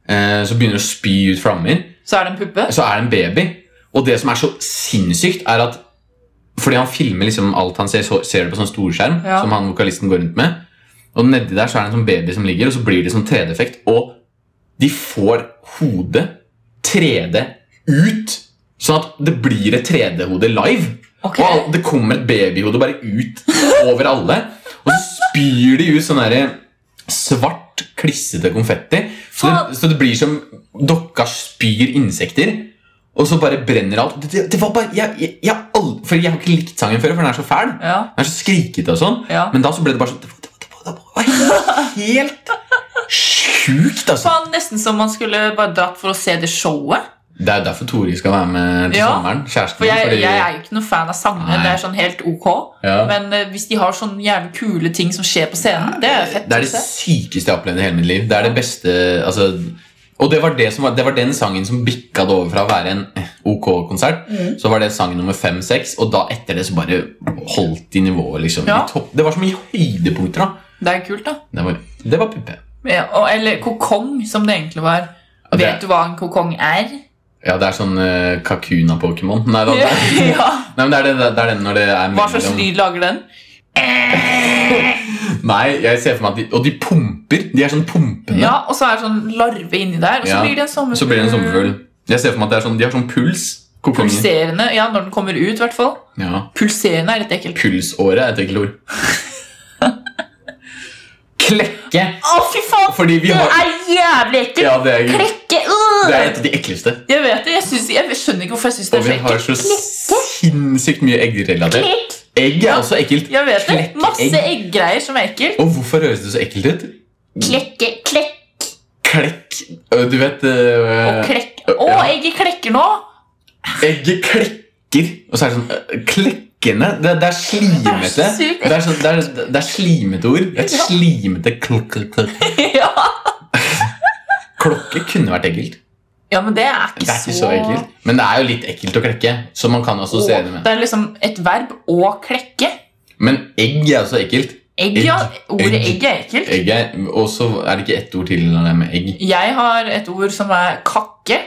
S2: eh, så begynner det å spy ut flammer
S3: Så er det en puppe?
S2: så er det en baby. Og det som er så sinnssykt, er at fordi han filmer liksom alt han ser, så ser det på sånn storskjerm,
S3: Ja.
S2: som han vokalisten går rundt med. Og nedi der så er det en sånn baby som ligger, og så blir det sånn 3D-effekt. Og de får hodet 3D ut, sånn at det blir et 3D-hode live.
S3: Ok.
S2: Og all- det kommer et babyhode bare ut over alle. Og så spyr de ut sånn derre svart, klissete konfetti. Så det, så det blir som dokka spyr insekter. Og så bare brenner alt. Det, det var bare, jeg, jeg, jeg, har aldri, for jeg har ikke likt sangen før, for den er så fæl.
S3: Ja.
S2: Den er så skrikete og sånn.
S3: Ja.
S2: Men da så ble det bare sånn Det var, det var, det var, det var helt sjukt, altså.
S3: Faen, nesten som man skulle bare dratt for å se det showet.
S2: Det er jo derfor Tori skal være med til
S3: Ja,
S2: sommeren. Kjæresten
S3: For jeg,
S2: fordi-
S3: jeg er jo ikke noen fan av sangene.
S2: Nei.
S3: Det er sånn helt ok.
S2: Ja.
S3: Men eh, hvis de har sånne jævlig kule ting som skjer på scenen, det er fett.
S2: Det er det
S3: synes jeg.
S2: sykeste jeg har opplevd i hele mitt liv. Det er det beste altså, Og det var, det, som var, det var den sangen som bikka det over fra å være en eh, ok konsert.
S3: Mm.
S2: Så var det sang nummer fem-seks, og da etter det så bare holdt de nivået. liksom
S3: Ja.
S2: i topp. Det var så mye høydepunkter, da.
S3: det er kult, da.
S2: Det var, det var puppe.
S3: Ja, og, eller kokong, som det egentlig var.
S2: Ja, det-
S3: Vet du hva en kokong er?
S2: Ja, det er sånn eh, kakuna-pokémon. Nei,
S3: *laughs*
S2: da, det, er-
S3: ja.
S2: nei, men det er det, det er den når det er
S3: Hva slags
S2: mellom-
S3: lyd lager den?
S2: Nei, jeg ser for meg at de, Og de pumper. De er sånn pumpende.
S3: Ja, Og så er det sånn larve inni der, og så
S2: Ja.
S3: blir det en sommerfugl.
S2: Så blir det en sommerfugl. Jeg ser for meg at det er sånn, de har sånn puls. kokonger.
S3: Pulserende. Ja, når den kommer ut, i hvert fall.
S2: Ja.
S3: Pulserende er litt ekkelt.
S2: Pulsåret er et ekkelt ord.
S3: *laughs*
S2: Klekke!
S3: Å, fy faen!
S2: Fordi vi
S3: det
S2: har
S3: er jævlig ekkelt!
S2: Ja, det er,
S3: Klekke!
S2: det
S3: øh!
S2: er et av de ekleste.
S3: Jeg vet det. Jeg, synes, jeg skjønner ikke hvorfor jeg syns
S2: Og
S3: det er
S2: vi
S3: så
S2: har
S3: ekkelt.
S2: så sinnssykt mye eggrelatert.
S3: Klekk!
S2: Egg er
S3: Ja.
S2: også ekkelt.
S3: Jeg vet det.
S2: Klekkeegg.
S3: Masse egggreier som er ekkelt.
S2: Og hvorfor høres det så ekkelt ut?
S3: Klekke, klekk
S2: Klekk. Øh, Du vet
S3: og
S2: øh,
S3: klekk. Å,
S2: ja.
S3: egget klekker nå! *laughs*
S2: Egget klekker. Og så er det sånn øh, Klekkende. Det, det er
S3: Det
S2: slimete.
S3: er så sykt.
S2: Det er, sånn, det er, det er slimete ord. Det er et
S3: Ja.
S2: slimete klokk, klokk, klokk.
S3: ja.
S2: Klokke kunne vært ekkelt.
S3: ja, men det er ikke,
S2: Det er ikke så ekkelt. Men det er jo litt ekkelt å klekke. Så man kan
S3: Å,
S2: assosiere det med.
S3: det er liksom et verb å klekke.
S2: Men egg er også ekkelt.
S3: Egg, ja.
S2: Egg.
S3: Ordet
S2: Egg.
S3: egg er ekkelt.
S2: Egg er, og så er det ikke ett ord til når det er med egg.
S3: Jeg har et ord som er kakke.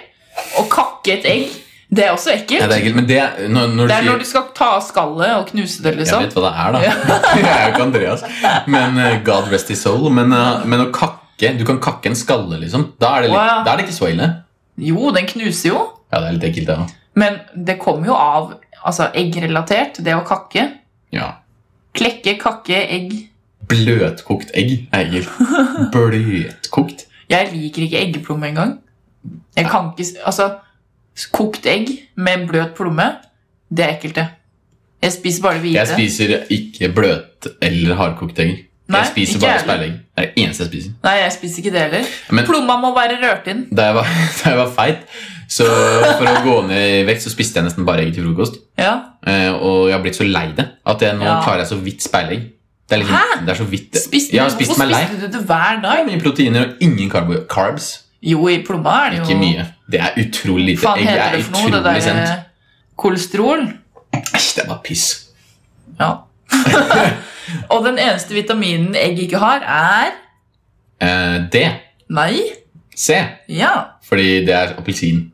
S3: Å kakke et egg, det er også
S2: Ja,
S3: ekkelt.
S2: det er ekkelt, men det er når, når du
S3: Det er
S2: sier
S3: når du skal ta av skallet og knuse det,
S2: Jeg
S3: liksom.
S2: vet hva det er, da. *laughs* jeg er jo ikke Andreas. Men eh, God rest his soul. Men, eh, men å kakke Du kan kakke en skalle, liksom. Da er det, litt,
S3: Å, ja.
S2: da er det ikke så ille.
S3: Jo, den knuser jo.
S2: Ja, det er litt ekkelt, det òg.
S3: Men det kommer jo av altså, eggrelatert, det å kakke.
S2: Ja.
S3: Klekke, kakke, egg.
S2: Bløtkokt egg er ekkelt.
S3: *laughs*
S2: Bløtkokt.
S3: Jeg liker ikke eggeplomme engang. Jeg kan ikke s- Altså, s- kokt egg med bløt plomme, det er ekkelt, det. Jeg spiser bare det hvite.
S2: Jeg spiser ikke bløt- eller hardkokt egg.
S3: Nei,
S2: jeg spiser
S3: ikke
S2: bare
S3: heller.
S2: speilegg. Det er det eneste jeg spiser.
S3: Nei, jeg spiser ikke det heller.
S2: Men-
S3: Plomma må være rørt inn.
S2: da jeg, var, *laughs* da jeg var feit, så for å gå ned i vekt, så spiste jeg nesten bare egg til frokost.
S3: Ja.
S2: Eh, og jeg har blitt så lei det at jeg nå
S3: Ja.
S2: klarer jeg så vidt speilegg. Det er liksom, det er så vidt
S3: Spiste,
S2: Jeg har spist
S3: hvorfor
S2: meg lei.
S3: spiste du det hver
S2: Det er
S3: dag?
S2: Mye proteiner og ingen karbo- carbs.
S3: Jo, i plomma er det jo
S2: Ikke mye. Det er utrolig lite.
S3: Faen
S2: Egg
S3: heter
S2: er
S3: det eh, for noe, det
S2: utrolig
S3: der
S2: sent.
S3: eh, kolesterol?
S2: *laughs* Æsj, det er bare piss.
S3: Ja. Og den eneste vitaminen egg ikke har, er
S2: Eh, D.
S3: Nei.
S2: C.
S3: Ja.
S2: Fordi det er appelsin.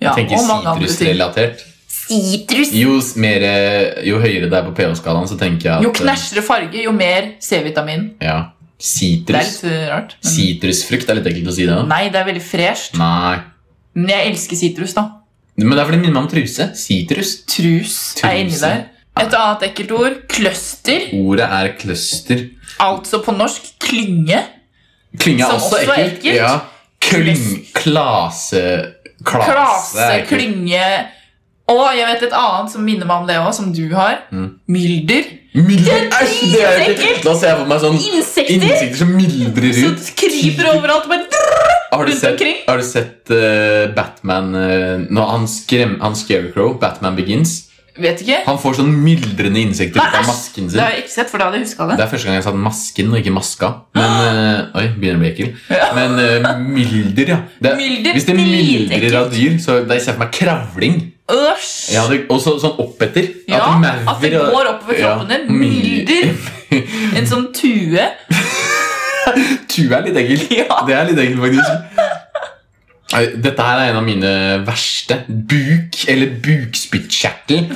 S3: ja
S2: Jeg tenker
S3: og mange andre ting.
S2: sitrusrelatert.
S3: Sitrus!
S2: Jo, s- mer, eh, jo høyere det er på pH-skalaen, så tenker jeg at
S3: Jo knæsjere farge, jo mer C-vitamin.
S2: eh, Ja.
S3: Det er
S2: Sitrus.
S3: litt eh, rart. men-
S2: Sitrusfrukt er litt ekkelt å si det. da.
S3: Nei, det er veldig fresht.
S2: Nei.
S3: Men jeg elsker sitrus, da.
S2: Men det er fordi det minner meg om truse. Sitrus.
S3: Trus er inni
S2: Truse.
S3: der. Et annet ekkelt ord cluster,
S2: Ordet er cluster.
S3: altså på norsk klynge.
S2: Klynge er
S3: Som
S2: også
S3: også er
S2: ekkelt.
S3: ekkelt.
S2: Ja. Klyng...
S3: Clus-
S2: Klase... Klase,
S3: Klase,
S2: er ekkelt.
S3: klynge Å, jeg vet et annet som minner meg om det òg, som du har.
S2: Mm.
S3: Mylder.
S2: Mildre- Æsj, det er jo
S3: ekkelt.
S2: ekkelt! Da ser jeg for meg sånn
S3: Insekter
S2: insekter som mildrer
S3: som
S2: ut.
S3: kryper overalt. Bare
S2: Har du
S3: rundt
S2: sett,
S3: omkring.
S2: har du sett eh, Batman eh, Når han, skrem, han Scarecrow, Batman Begins
S3: Vet ikke.
S2: Han får sånn myldrende insekter
S3: Nei,
S2: ut av
S3: æsj,
S2: masken
S3: Det
S2: sin.
S3: har jeg ikke sett, for da hadde jeg huska det.
S2: Det er første gang jeg har satt masken og ikke maska. Men eh, Oi, begynner å bli ekkel.
S3: Ja.
S2: Men eh, milder, ja. Det, er-
S3: Mylder,
S2: hvis det myldrer
S3: dritekkelt.
S2: av dyr, så det ser jeg for meg kravling.
S3: Æsj!
S2: Jeg hadde, og så, sånn oppetter.
S3: Ja,
S2: maur
S3: at det
S2: og-
S3: går oppover kroppen
S2: Ja,
S3: din. Mylder. En sånn tue.
S2: Tue er litt ekkel.
S3: Ja.
S2: Det er litt ekkelt, faktisk. Nei, Dette her er en av mine verste. Buk eller bukspyttkjertel.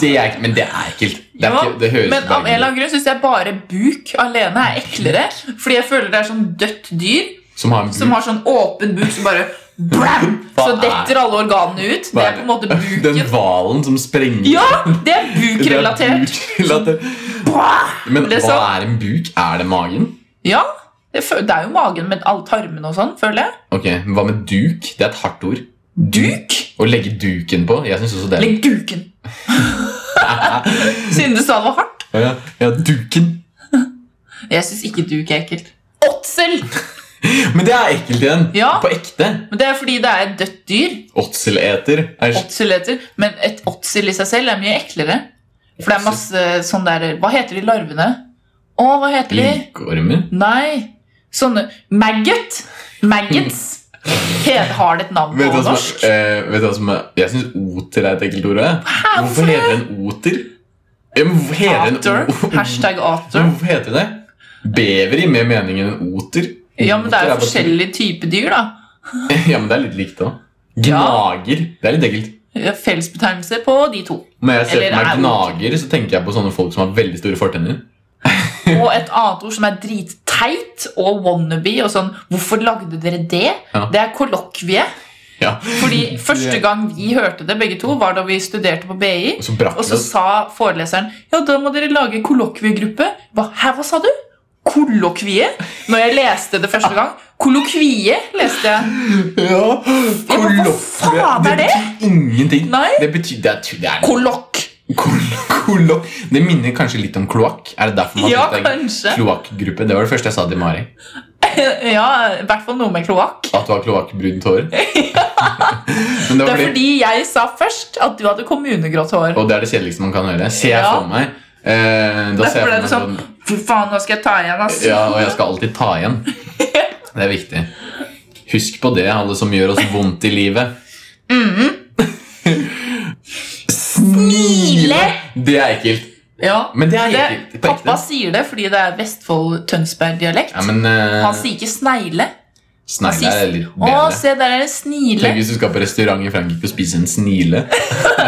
S2: Det er ikke- Men det er ekkelt. Det, er
S3: Ja,
S2: ikke, det høres
S3: men
S2: bare
S3: av en eller annen grunn syns jeg bare buk alene er eklere. Fordi jeg føler det er sånn dødt dyr
S2: Som har en buk.
S3: som har sånn åpen buk som bare blam,
S2: Hva
S3: Så
S2: er-
S3: detter alle organene ut. Det er på en måte
S2: *laughs* Den
S3: buken.
S2: hvalen som sprenger
S3: Ja,
S2: *laughs*
S3: det
S2: Det
S3: er
S2: er *laughs*
S3: bukrelatert.
S2: bukrelatert. Men
S3: Det er
S2: hva
S3: sant.
S2: er en buk? Er det magen?
S3: Ja, det fø- det er jo magen med all tarmene og sånn, føler jeg.
S2: Ok, men Hva med duk? Det er et hardt ord.
S3: Duk?
S2: Å legge duken på. Jeg synes også det.
S3: Legg
S2: *laughs*
S3: duken. Siden du sa det var hardt.
S2: Ja, ja, duken.
S3: Jeg syns ikke duk er ekkelt. Åtsel!
S2: Men det er ekkelt igjen.
S3: Ja.
S2: På ekte.
S3: Men det er fordi det er et dødt dyr.
S2: Åtseleter. er-
S3: Åtsel heter. Men et åtsel i seg selv er mye eklere. For det er masse sånn der Hva heter de larvene? Å, hva heter de?
S2: Lykormer?
S3: Nei. Sånne Maggot. Maggots. He- Har det et navn
S2: Mm. Vet du
S3: på
S2: hva som,
S3: norsk?
S2: er- eh, vet du hva som er, jeg syns oter er et ekkelt ord. jeg.
S3: hvorfor
S2: Hvorfor heter den oter? Ja, men hvorfor heter den *laughs*
S3: Otter. Hashtag
S2: Men
S3: otter.
S2: hvorfor heter det? Bever i mer mening enn en oter.
S3: Ja, men det er
S2: Oter
S3: jo
S2: bare-
S3: forskjellige typer dyr, da.
S2: *laughs* Ja, men det er litt likt da
S3: Ja.
S2: Gnager, det er litt ekkelt
S3: Fellesbetegnelse på
S2: *laughs*
S3: de to.
S2: Når jeg ser
S3: Eller
S2: på meg
S3: er
S2: gnager, så tenker jeg på sånne folk som har veldig store fortenner
S3: Og et annet ord som er dritteit og wannabe og sånn Hvorfor lagde dere det?
S2: Ja.
S3: Det er kollokvie.
S2: Ja, *laughs*
S3: Fordi første gang vi hørte det, begge to, var da vi studerte på BI.
S2: og så brakk
S3: Og
S2: det
S3: så
S2: oss
S3: sa foreleseren ja, da må dere lage kollokviegruppe. Hva, Hæ, hva sa du? Kollokvie? Når jeg leste det første gang. Kollokvie leste jeg.
S2: *laughs* Ja,
S3: men hva
S2: kollokvie.
S3: faen er det?
S2: betyr ingenting
S3: Nei.
S2: Det betyr, det er, tu- det er
S3: Kollokk. *laughs*
S2: kol- kolok- Det minner kanskje litt om kloakk Er det derfor man
S3: Ja,
S2: synes det er
S3: kanskje.
S2: kloakkgruppe? Det var det første jeg sa til Mari
S3: Ja, I hvert fall noe med kloakk.
S2: At du har kloakkbrunt
S3: *laughs*
S2: hår Men det
S3: Det
S2: var fordi
S3: er fordi jeg sa først at du hadde kommunegrått hår.
S2: Og det er det kjedeligste man kan høre Ser jeg
S3: Ja.
S2: for meg eh, Da ser
S3: Derfor
S2: jeg
S3: ble
S2: for
S3: det
S2: meg
S3: sånn
S2: sånn
S3: Fy faen, nå skal jeg ta igjen, ass.
S2: Ja, og jeg skal alltid ta
S3: *laughs*
S2: igjen. Det er viktig. Husk på det, alle som gjør oss vondt i livet. Snile! Det er ekkelt.
S3: Ja.
S2: Men det er
S3: Det,
S2: ekkelt. på ekte.
S3: pappa sier det fordi det er Vestfold-Tønsberg-dialekt.
S2: Ja, men eh,
S3: Han sier ikke snegle. han
S2: snegle
S3: sier-
S2: er litt
S3: Å,
S2: bedre.
S3: se, der er det snile.
S2: Tenk hvis du skal på restaurant i Frankrike og spise en snile.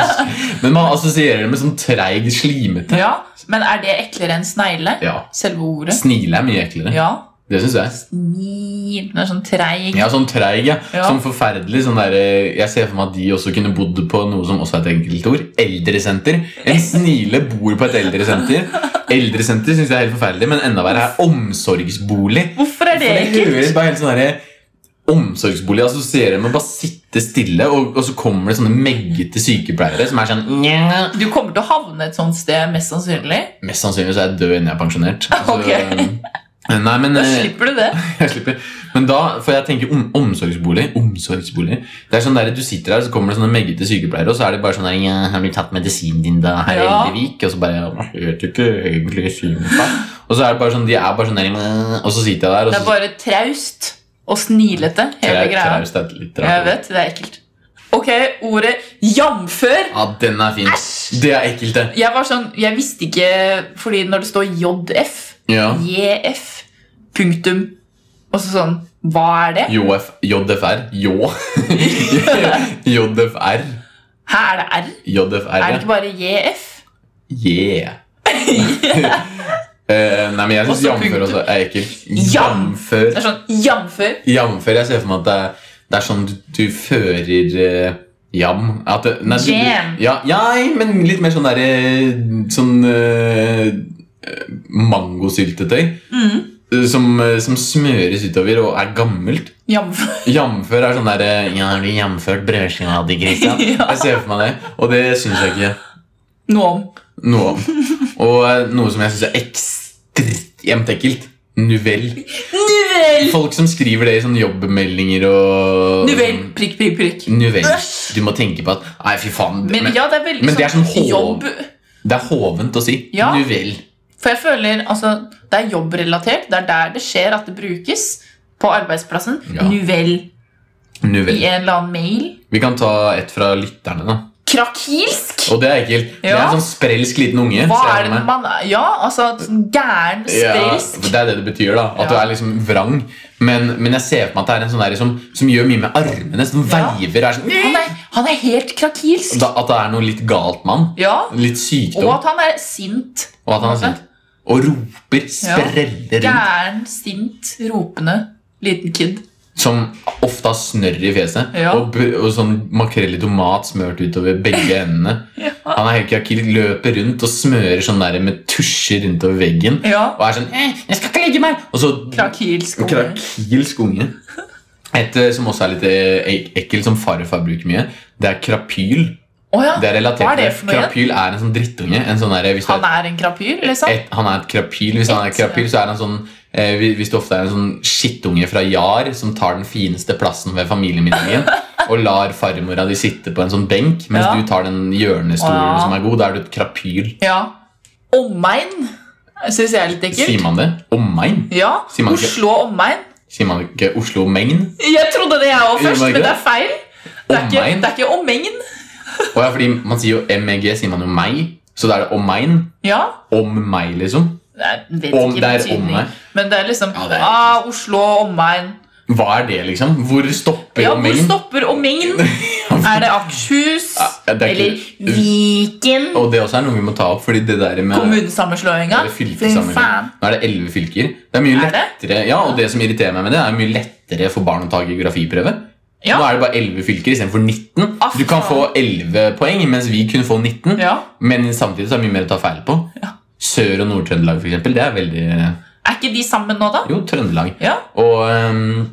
S3: *laughs*
S2: Men man assosierer det med sånn treig, slimete.
S3: Ja, Men er det eklere enn snegle?
S2: Ja.
S3: Selve ordet?
S2: Snile er mye eklere.
S3: Ja.
S2: Det syns jeg.
S3: Snil Den er sånn treig.
S2: Ja, sånn treig, ja.
S3: Ja.
S2: Sånn forferdelig. Sånn der, eh, jeg ser for meg at de også kunne bodd på noe som også er et enkeltord. Eldresenter. En snile bor på et eldresenter. Eldresenter syns jeg er helt forferdelig, men enda verre er omsorgsbolig.
S3: Hvorfor er det
S2: For det høres
S3: ekkelt?
S2: bare helt sånn derre Omsorgsbolig Altså, assosierer med å bare sitte stille, og, og så kommer det sånne meggete sykepleiere som er sånn Nja.
S3: Du kommer til å havne et sånt sted, mest sannsynlig.
S2: Mest sannsynlig så er jeg død innen jeg er pensjonert. Så,
S3: *laughs* Ok.
S2: eh, Nei, men
S3: Da
S2: eh,
S3: slipper du det.
S2: *laughs* Jeg slipper. Men da, for jeg tenker om, omsorgsbolig Omsorgsbolig Det er sånn der, Du sitter der, så kommer det sånne meggete sykepleiere, og så er de bare sånn der, ja, 'Har du tatt medisinen din, da, herr
S3: Ja.
S2: Eldrevik?' Og så bare «Jeg vet ikke egentlig synet på». Og så er det bare sånn, de er bare sånn der, «Mæ», Og så sitter jeg der, og
S3: Det er
S2: så
S3: bare traust og snilete, hele
S2: Trau-
S3: greia.
S2: traust er et litt rart
S3: Jeg
S2: ord.
S3: vet, det er ekkelt. Ok, ordet jamfør.
S2: Ja, den er fin. Det er ekkelt, det.
S3: Jeg var sånn, jeg visste ikke, fordi når det står JF,
S2: Ja.
S3: JF, punktum, og så sånn, hva er det?
S2: JF, JFR. *laughs* Jå. JFR.
S3: Her er det R.
S2: JFR,
S3: Er det
S2: ja.
S3: ikke bare JF?
S2: Yeah.
S3: *laughs*
S2: Eh, nei, men jeg syns
S3: Også
S2: jamfør også er ekkelt.
S3: Jam.
S2: Jamfør.
S3: Det er sånn, jamfør.
S2: Jamfør. Jeg ser for meg at det er, det er sånn du, du fører eh, jam. At det, nei, du,
S3: Jam.
S2: du, ja, ja, men litt mer sånn derre Sånn eh, eh, mangosyltetøy.
S3: Mm.
S2: eh, Som, eh, som smøres utover og er gammelt.
S3: Jamfør.
S2: Jamfør er sånn derre Ja, har du jamført brødskiva di, Christian?
S3: *laughs* Ja.
S2: Jeg ser for meg det, og det syns jeg ikke
S3: Noe om.
S2: noe om. Og eh, noe som jeg syns er ekstremt ekkelt. Nuvell.
S3: Nuvel!
S2: Folk som skriver det i sånne jobbmeldinger og
S3: Nuvel, prikk, prikk, prikk.
S2: Nuvell.
S3: Æsj.
S2: Du må tenke på at Nei, fy faen. det-
S3: Men
S2: men,
S3: ja, det er veldig
S2: men det er sånn hov-
S3: jobb.
S2: det er hovent å si.
S3: Ja.
S2: Nuvell.
S3: For jeg føler, altså, det er jobbrelatert, det er der det skjer at det brukes på arbeidsplassen.
S2: Ja.
S3: Nuvel i
S2: Nuvell.
S3: en eller annen mail.
S2: Vi kan ta et fra lytterne, da.
S3: Krakilsk?
S2: Og det er ekkelt. Det er
S3: Ja.
S2: en sånn sprelsk liten unge.
S3: Hva
S2: ser jeg
S3: er
S2: for
S3: det
S2: meg.
S3: man Ja, altså sånn gæren, sprelsk.
S2: Ja, det er det det betyr, da. At
S3: Ja.
S2: du er liksom vrang. Men, men jeg ser for meg at det er en sånn der som, som gjør mye med armene. Som
S3: Ja.
S2: veiver. Er sånn,
S3: Han er, han er helt krakilsk.
S2: da, at det er noe litt galt med han.
S3: Ja.
S2: Litt
S3: Og
S2: sykdom.
S3: at han er sint.
S2: Og at han er sint. Og roper, spreller rundt.
S3: Gæren, sint, ropende liten kid.
S2: Som ofte har snørr i fjeset.
S3: Ja.
S2: Og, br- og sånn makrell i tomat smørt utover begge endene.
S3: Ja.
S2: Han er helt krakil, løper rundt og smører sånn der med tusjer rundt over veggen. Og er sånn eh, 'Jeg skal ikke legge meg!' Og så
S3: Krakilsk. unge.
S2: Krakilsk unge. Et eh, som også er litt eh, ek- ekkelt, som farfar bruker mye, det er krapyl.
S3: Å ja.
S2: Det er relatert
S3: Hva er det
S2: til-
S3: for noe igjen?
S2: Krapyl er en sånn drittunge. En sånn der, hvis det
S3: Han er en krapyr, liksom?
S2: et, han er et krapyl. Hvis han er et
S3: Et,
S2: krapyl, så er han sånn eh, hvi- Hvis det ofte er en sånn skittunge fra Jar som tar den fineste plassen ved familiemiddagen
S3: *laughs*
S2: og lar farmora di sitte på en sånn benk, mens
S3: Ja.
S2: du tar den hjørnestolen
S3: Ja.
S2: som er god, da er du et krapyl.
S3: Ja. Omegn syns jeg er litt
S2: Sier
S3: ekkelt.
S2: man det? Omegn?
S3: Ja.
S2: Sier man ikke-
S3: Oslo omegn.
S2: Sier man ikke Oslo-megn?
S3: Jeg trodde det jeg òg
S2: Gjør
S3: først,
S2: man ikke
S3: men det
S2: det?
S3: er feil. Det er ikke,
S2: Omegn?
S3: det er ikke omegn.
S2: Å ja, fordi man sier jo MEG, sier man jo meg. Så da er det om megn.
S3: Ja.
S2: Om meg, liksom.
S3: Jeg vet
S2: Om-
S3: ikke
S2: det er
S3: betydning.
S2: omegn.
S3: Men det er liksom
S2: Ja, det er-
S3: ah, Oslo omegn.
S2: Hva er det, liksom? Hvor stopper
S3: Ja,
S2: om
S3: hvor
S2: megn?
S3: stopper omegn? Er det Akershus?
S2: Ja, det er ikke-
S3: Eller
S2: *laughs*
S3: Viken?
S2: Og det også er noe vi må ta opp, fordi det der med
S3: Kommunesammenslåinga?
S2: Eller
S3: Fy faen.
S2: fylkessammenheng. Nå er det elleve fylker. Det er mye
S3: Er det?
S2: lettere, ja, og det som irriterer meg med det, er mye lettere for barn å ta geografiprøve.
S3: Ja.
S2: Nå er det bare elleve fylker istedenfor 19.
S3: Ah,
S2: Du kan
S3: faen.
S2: få 11 poeng, mens vi kunne få 19.
S3: Ja.
S2: Men samtidig så er det mye mer å ta feil på.
S3: Ja.
S2: Sør- og Nord-Trøndelag, for eksempel, det er veldig
S3: Er ikke de sammen nå, da?
S2: Jo, Trøndelag.
S3: Ja.
S2: Og, ehm,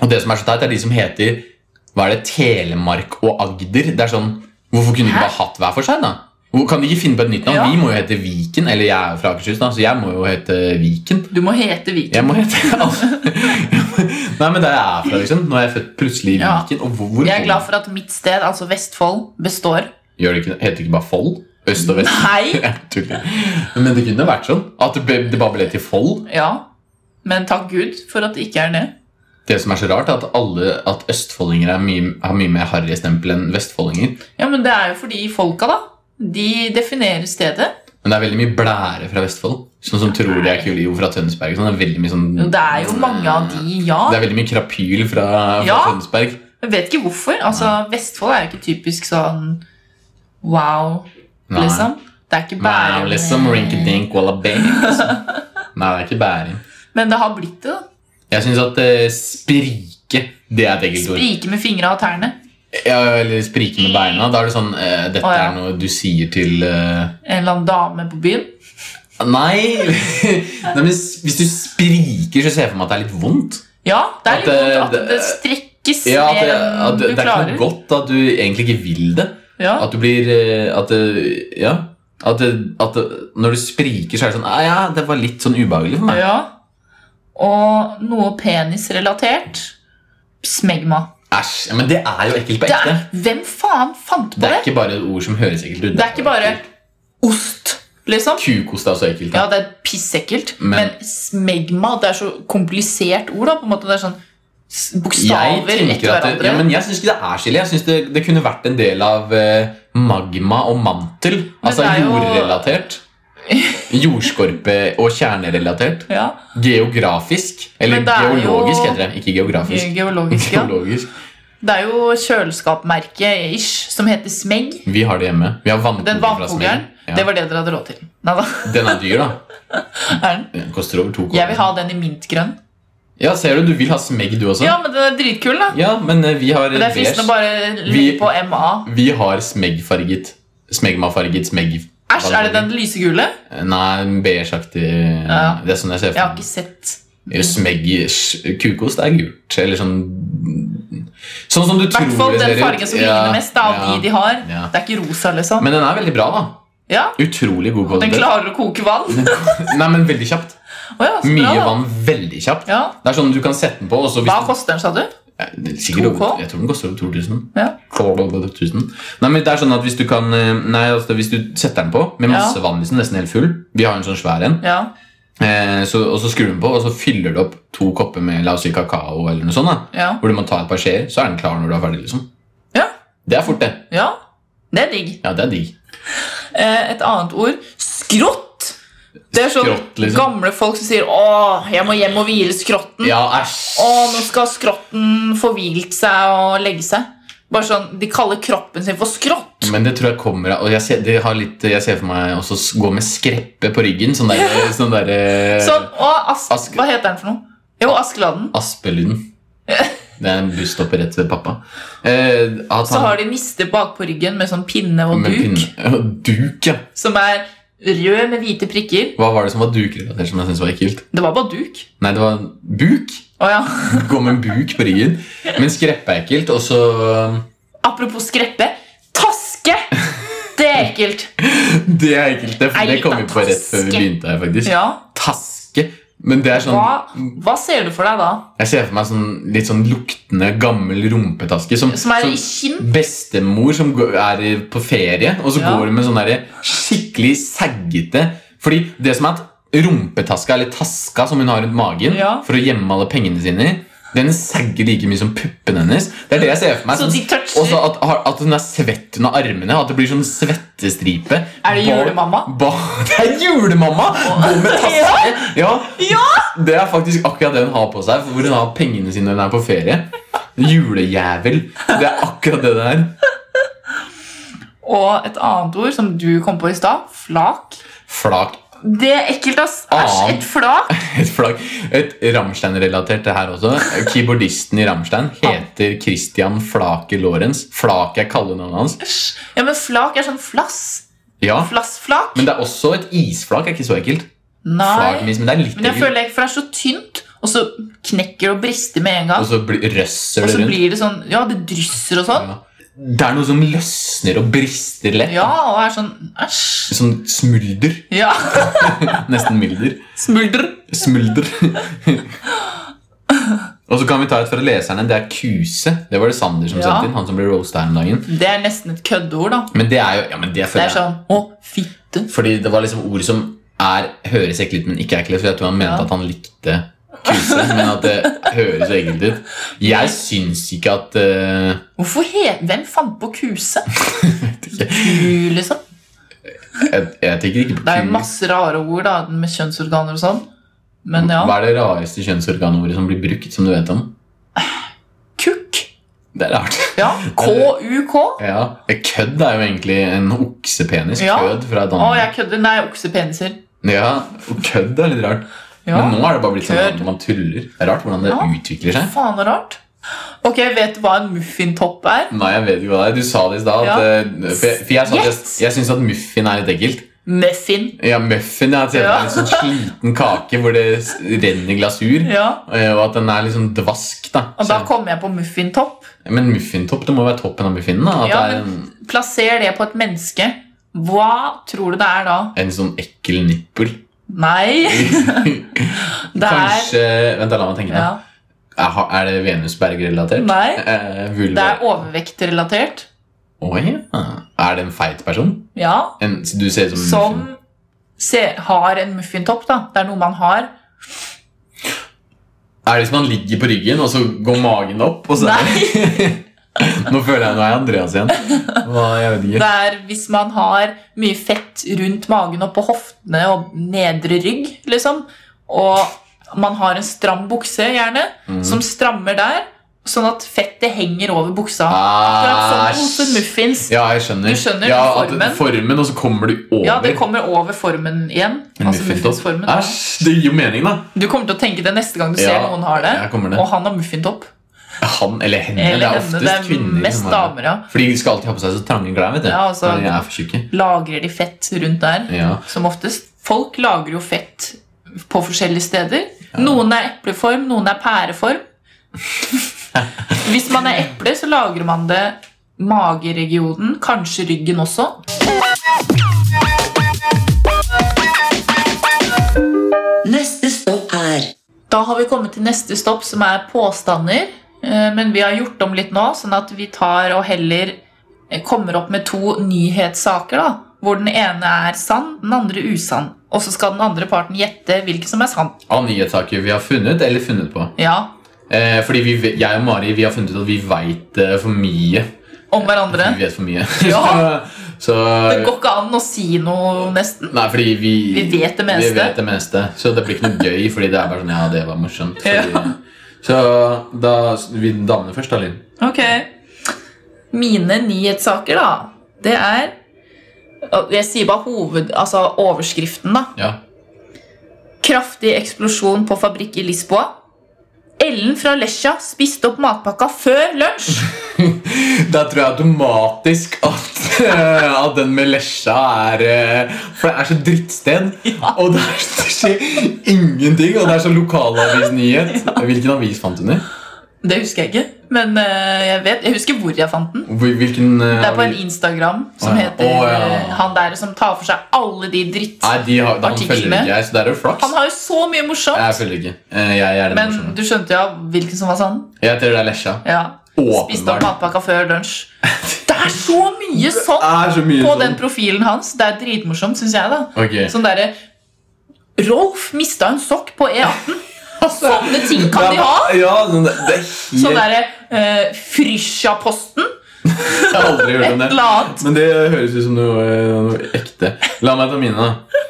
S2: og det som er så teit, er de som heter Hva er det, Telemark og Agder. Det er sånn, Hvorfor kunne de ikke
S3: Hæ?
S2: bare hatt hver for seg? da? Hvor, kan de ikke finne på et nytt navn?
S3: Ja.
S2: Vi må jo hete Viken. Eller jeg er jo fra Akershus, da, så jeg må jo hete Viken.
S3: Du må hete Viken.
S2: Jeg må hete *laughs* Nei, men der jeg er fra, liksom. Nå er jeg født plutselig i
S3: Ja.
S2: Viken. Og hvor, hvor
S3: Jeg er glad for at mitt sted, altså Vestfold, består.
S2: Gjør det ikke, heter det ikke bare Fold? Øst og vest? *laughs*
S3: Hei!
S2: Jeg tuller. Men det kunne vært sånn. At det ble- det bare ble til Fold.
S3: Ja. Men takk Gud for at det ikke er det.
S2: Det som er så rart, er at, alle, at østfoldinger er mye, har mye mer harrystempel enn vestfoldinger.
S3: Ja, men det er jo fordi folka, da. De definerer stedet.
S2: Men det er veldig mye blære fra Vestfold. Sånn som tror de er kule jo fra Tønsberg. Sånn, det, er veldig mye sånn,
S3: Jo, det er jo mange av de, ja.
S2: Det er veldig mye krapyl fra, fra
S3: Ja.
S2: Tønsberg.
S3: Jeg vet ikke hvorfor. Altså, Vestfold er jo ikke typisk sånn wow,
S2: Nei.
S3: liksom. Det er ikke
S2: Wow,
S3: Bærum.
S2: liksom Rinkadink Wallabang.
S3: *laughs*
S2: Liksom. Nei, det er ikke Bærum.
S3: liksom. Men det har blitt det. da.
S2: Jeg syns at eh, sprike det er et eget ord.
S3: Sprike med fingra og tærne.
S2: Ja, eller sprike med beina. Da er det sånn eh, Dette
S3: Å, ja.
S2: er noe du sier til eh,
S3: En eller annen dame på byen.
S2: Nei! *laughs* Nei men s- hvis du spriker, så ser jeg for meg at det er litt vondt.
S3: Ja, det er
S2: At
S3: litt
S2: det-
S3: vondt at det
S2: det-
S3: strekkes
S2: Ja, at det,
S3: mer
S2: at det,
S3: enn du
S2: det er ikke
S3: klarer.
S2: noe godt at du egentlig ikke vil det.
S3: Ja.
S2: At du blir eh, At det, Ja. At, det, at det, når du spriker, så er det sånn «Ah, Ja, det var litt sånn ubehagelig for meg.
S3: ja. Og noe penisrelatert. Smegma.
S2: Æsj. ja, Men det er jo ekkelt på
S3: Det
S2: ekte.
S3: er, hvem faen fant på
S2: Det er
S3: det?
S2: ikke bare et ord som høres ekkelt ut.
S3: Det er ikke bare ost, liksom.
S2: Kukost er også ekkelt.
S3: Ja,
S2: Da.
S3: det er pissekkelt.
S2: Men-
S3: Men smegma, det er så komplisert ord, da. på en måte. Det er sånn s-
S2: Jeg
S3: bokstaver
S2: tenker
S3: etter
S2: at det,
S3: hverandre.
S2: ja, men jeg syns ikke det er skille. Jeg synes det, det kunne vært en del av eh, magma og mantel. Altså
S3: det er jo- *laughs*
S2: jordrelatert. Jordskorpe- og kjernerelatert.
S3: Ja,
S2: Geografisk. Eller
S3: Men det er jo-
S2: geologisk, heter det. Ikke geografisk.
S3: geologisk, ja.
S2: *laughs* Geologisk.
S3: Det er jo kjøleskapmerket ish som heter Smegg.
S2: Vi har det hjemme. Vi har vannkoker
S3: Den
S2: fra
S3: vannkokeren.
S2: Smell.
S3: Det
S2: Ja.
S3: var det dere hadde råd til. Neida,
S2: Den er dyr, da.
S3: *laughs* er den?
S2: Den koster over to kroner.
S3: Jeg vil ha den i mintgrønn.
S2: Ja, ser du, du vil ha smegg, du også?
S3: Ja, men den er dritkul, da.
S2: Ja, men eh, vi har
S3: Men det er fristende å bare legge
S2: Vi-
S3: på MA.
S2: Vi har smeggfarget. Smegmafarget smegg. Eh,
S3: Æsj, er det den lysegule?
S2: Nei, beigeaktig
S3: Ja.
S2: Det er sånn jeg ser
S3: Jeg har
S2: for meg.
S3: ikke sett.
S2: Smegg sj- Kukost er gult. Eller sånn Sånn som du
S3: I
S2: tror
S3: hvert fall
S2: det
S3: den
S2: ser ut.
S3: fargen som
S2: Ja,
S3: ligner mest da, av
S2: ja.
S3: de de har.
S2: Ja.
S3: Det er ikke rosa, liksom.
S2: Men den er veldig bra, da.
S3: Ja,
S2: Utrolig god
S3: Den
S2: kvalitet.
S3: klarer å koke vann.
S2: Nei, men veldig kjapt.
S3: Å ja, så Altså, bra,
S2: Mye
S3: da.
S2: vann veldig kjapt.
S3: Ja.
S2: Det er sånn du kan sette den på, og så hvis
S3: Hva
S2: du-
S3: koster den, sa du?
S2: Ja, det er sikkert
S3: 2K?
S2: over- Jeg tror den koster over 2000.
S3: Ja.
S2: Blablabla, 1000. Nei, men det er sånn at hvis du kan eh, Nei, altså hvis du setter den på med masse
S3: Ja.
S2: vann, liksom, nesten helt full Vi har en sånn svær en.
S3: Ja.
S2: Eh, så, og så skrur du den på, og så fyller du opp to kopper med la oss si kakao eller noe sånt. da
S3: Ja.
S2: Hvor du må ta et par skjeer, så er den klar når du er ferdig. liksom
S3: Ja.
S2: Det er fort, det.
S3: ja. Det er digg.
S2: Ja, det er digg.
S3: Eh, Et annet ord skrått. Det er sånn
S2: Skrått, liksom.
S3: gamle folk som sier 'Å, jeg må hjem og hvile skrotten'.
S2: Ja, æsj.
S3: 'Å, nå skal skrotten få hvilt seg og legge seg'. Bare sånn, De kaller kroppen sin for skrått.
S2: Men det tror jeg kommer av Og jeg ser, det har litt, jeg ser for meg også s- gå med skreppe på ryggen. Sånn der, sånn der eh,
S3: Sånn, og Ask,
S2: Ask-
S3: Hva heter den for noe? Jo, Askeladden.
S2: Aspelyden. Det er en busstopper rett ved pappa. Eh, at
S3: Så
S2: han-
S3: har de niste bakpå ryggen med sånn pinne og
S2: med
S3: duk,
S2: pinne- og *laughs* Duk, ja.
S3: som er rød med hvite prikker.
S2: Hva var det som var dukrelatert som jeg syntes var ekkelt?
S3: Det var bare duk.
S2: Nei, det var buk.
S3: Å ja.
S2: Gå med en buk på ryggen. Men skreppe er ekkelt. Og så *laughs*
S3: Apropos skreppe. Taske! Det er ekkelt.
S2: Det er ekkelt, det, for det
S3: Ei,
S2: kom vi på rett før vi
S3: taske.
S2: begynte her, faktisk.
S3: Ja.
S2: Taske. Men det er sånn
S3: Hva, hva ser du for deg da?
S2: Jeg ser for meg sånn litt sånn luktende, gammel rumpetaske. Som,
S3: Som er i skinn?
S2: Bestemor som går, er i- på ferie, og så
S3: Ja.
S2: går hun med sånn derre skikkelig saggete Fordi det som er at rumpetaska, eller taska som hun har rundt magen
S3: Ja.
S2: for å gjemme alle pengene sine i, den sagger like mye som puppene hennes. Det er det jeg ser for meg.
S3: Så de toucher?
S2: og så at, at hun er svett under armene. At det blir sånn svettestripe.
S3: Er det
S2: Ba-
S3: julemamma?
S2: Ba, *laughs* det er julemamma! Gå med taske! Ja.
S3: Ja!
S2: Det er faktisk akkurat det hun har på seg. Hvor hun har pengene sine når hun er på ferie. Julejævel. Det er akkurat det det er.
S3: Og et annet ord som du kom på i stad. Flak.
S2: Flak.
S3: Det er ekkelt, ass. Æsj,
S2: Annet.
S3: et flak.
S2: Et flak. Et Rammstein-relatert det her også. Keyboardisten i Rammstein heter Christian Flake Lorentz. Flak er kallenavnet hans.
S3: Æsj. Ja, men flak er sånn flass.
S2: Ja,
S3: Flassflak.
S2: Men det er også et isflak. er ikke så ekkelt. Flak med
S3: Nei.
S2: is, men det er litt
S3: Men jeg
S2: ekkelt.
S3: føler ikke, for det er så tynt, og så knekker det og brister med en
S2: Og
S3: gang.
S2: så blir- røsser
S3: Og
S2: det
S3: så
S2: rundt.
S3: blir det sånn Ja, det drysser og sånn.
S2: Ja. Det er noe som løsner og brister lett.
S3: Ja, og er sånn Æsj.
S2: Sånn smulder. *laughs*
S3: Ja.
S2: Nesten mylder.
S3: Smuldrer.
S2: Smulder. Og så kan vi ta et fra leserne. Det er kuse. Det var det Sander som
S3: Ja.
S2: sendte inn. Han som ble roasta her om dagen.
S3: Det er nesten et køddeord, da.
S2: Men det er jo ja, men det
S3: Det
S2: føler
S3: er
S2: jeg.
S3: sånn Å, fitte.
S2: Fordi det var liksom ord som er, høres ekkelt ut, men ikke ekkelt. For jeg tror han mente
S3: Ja.
S2: at han likte kuse, men at det høres ekkelt ut. Jeg syns ikke at eh, *laughs*
S3: Hvorfor he- Hvem fant på kuse? Ku, liksom.
S2: jeg, jeg tenker ikke på
S3: Det er jo
S2: ku.
S3: masse rare ord da, med kjønnsorganer og sånn. Men ja.
S2: Hva er det rareste kjønnsorganordet som blir brukt, som du vet om?
S3: Kukk.
S2: Det er rart. *laughs*
S3: Ja. K-u-k.
S2: Ja. Kødd er jo egentlig en oksepenis.
S3: Ja.
S2: Kødd fra
S3: Å,
S2: Danmark.
S3: jeg kødder. Nei, oksepeniser.
S2: Ja, og kødd er litt rart.
S3: Ja.
S2: Men nå er det bare blitt sånn
S3: Kødd.
S2: at man tuller. Det er rart hvordan det
S3: Ja.
S2: utvikler seg.
S3: Faen så rart. Ok, vet du hva en muffintopp er?
S2: Nei, jeg vet ikke hva det er. Du sa det i stad.
S3: Ja.
S2: at, eh, For jeg, for jeg, sa at jeg,
S3: Yes.
S2: jeg syns at muffin er litt ekkelt.
S3: Muffin.
S2: Ja, muffin jeg ser
S3: Ja.
S2: for meg en sånn sliten kake hvor det s- renner glasur.
S3: Ja.
S2: eh, Og at den er litt sånn dvask. da,
S3: Og da
S2: Så-
S3: kommer jeg på muffintopp.
S2: Men muffintopp, det må jo være toppen av muffinen. da At
S3: Ja,
S2: det er en,
S3: men plasser det på et menneske. Hva tror du det er da?
S2: en sånn ekkel nippel. *laughs*
S3: Nei, det er
S2: Kanskje Vent, da, la meg tenke.
S3: ja.
S2: da Er ha- Er det Venusberg-relatert?
S3: Nei.
S2: Eh,
S3: Det
S2: vulva
S3: er overvektrelatert.
S2: Å ja. Er det en feit person?
S3: Ja.
S2: En, du ser ut som en
S3: Som
S2: muffin.
S3: se, har en muffintopp, da. Det er noe man har.
S2: Er det som han ligger på ryggen, og så går magen opp? Og så
S3: Nei,
S2: *laughs* Nå føler jeg nå er jeg Andreas igjen. Hva, jeg vet
S3: det
S2: ikke.
S3: er hvis man har mye fett rundt magen og på hoftene og nedre rygg, liksom, og man har en stram bukse, gjerne,
S2: Mm.
S3: som strammer der, sånn at fettet henger over buksa. Akkurat Sånn som
S2: Æsj.
S3: muffins.
S2: Ja, jeg skjønner.
S3: Du skjønner
S2: ja, at
S3: formen.
S2: formen, og så kommer du over.
S3: Ja, det kommer over formen igjen.
S2: En
S3: Altså
S2: muffintopp.
S3: muffinsformen.
S2: Æsj, det gir jo mening, da.
S3: Du kommer til å tenke det neste gang du ser
S2: Ja,
S3: noen har det.
S2: jeg kommer det.
S3: Og han har muffintopp.
S2: Han eller henne.
S3: Eller
S2: det er
S3: henne,
S2: oftest
S3: det er
S2: kvinner.
S3: mest
S2: som har det.
S3: damer, ja.
S2: Fordi de skal alltid ha på seg så trange klær. vet du
S3: Ja, altså-
S2: Når de er for tjukke.
S3: Lagrer de fett rundt der?
S2: Ja.
S3: Som oftest. Folk lagrer jo fett på forskjellige steder. Noen er epleform, noen er pæreform. Hvis man er eple, så lagrer man det mageregionen, kanskje ryggen også.
S1: Neste stopp er
S3: Da har vi kommet til neste stopp, som er påstander. Eh, Men vi har gjort om litt nå, sånn at vi tar og heller eh, kommer opp med to nyhetssaker. da, Hvor den ene er sann, den andre usann. Og så skal den andre parten gjette hvilken som er sann.
S2: Av nyhetssaker vi har funnet, eller funnet på.
S3: Ja,
S2: Eh, fordi vi, ve- jeg og Mari vi har funnet ut at vi veit for mye.
S3: Om hverandre.
S2: Vi vet for mye.
S3: Ja.
S2: så, *laughs* så
S3: Det går ikke an å si noe, nesten.
S2: Nei, fordi vi,
S3: Vi vet det
S2: vi
S3: meste.
S2: vet det meste. Så det blir ikke noe gøy, fordi det er bare sånn Ja, det var morsomt. Fordi,
S3: Ja.
S2: Så da vi damene først, da, Linn.
S3: Ok. Mine nyhetssaker, da, det er Jeg sier bare hoved... Altså overskriften, da.
S2: Ja.
S3: Kraftig eksplosjon på fabrikk i Lisboa. Ellen fra Lesja spiste opp matpakka før lunsj.
S2: Da tror jeg automatisk at, eh, at den med lesja er eh, For det er så drittsted, og det, er, det skjer ingenting. Og det er så lokalavisnyhet. Hvilken avis fant hun i?
S3: Det husker jeg ikke, men eh, jeg vet, jeg husker hvor jeg fant den.
S2: Hvilken eh,
S3: Det er på en
S2: avi-
S3: Instagram
S2: Å
S3: som
S2: ja.
S3: heter
S2: Å ja.
S3: eh, han der som tar for seg alle de dritt...
S2: Nei, de har, han
S3: artiklene.
S2: følger ikke jeg, så det er jo flaks.
S3: Han har jo så mye
S2: Jeg
S3: morsomt.
S2: følger ikke. Eh, Jeg, jeg er den
S3: Men
S2: personen.
S3: du skjønte ja hvilken som var sann?
S2: Jeg tror det er lesja.
S3: Ja. Spiste opp
S2: Åpenbart.
S3: matpakka før
S2: *laughs*
S3: lunsj. Det er så mye sånn
S2: Det er så mye
S3: på
S2: sånn.
S3: den profilen hans. Det er dritmorsomt, syns jeg. da
S2: Ok.
S3: Sånn derre Rolf mista en sokk på E18.
S2: *laughs*
S3: Altså, Sånne ting kan de
S2: Ja,
S3: ha!
S2: Ja, sånn, det, det er helt
S3: Sånn derre eh, Frysja-posten.
S2: Jeg har aldri hørt om
S3: Et
S2: det.
S3: eller annet.
S2: Men det høres ut som noe, eh, noe ekte. La meg ta mine, da.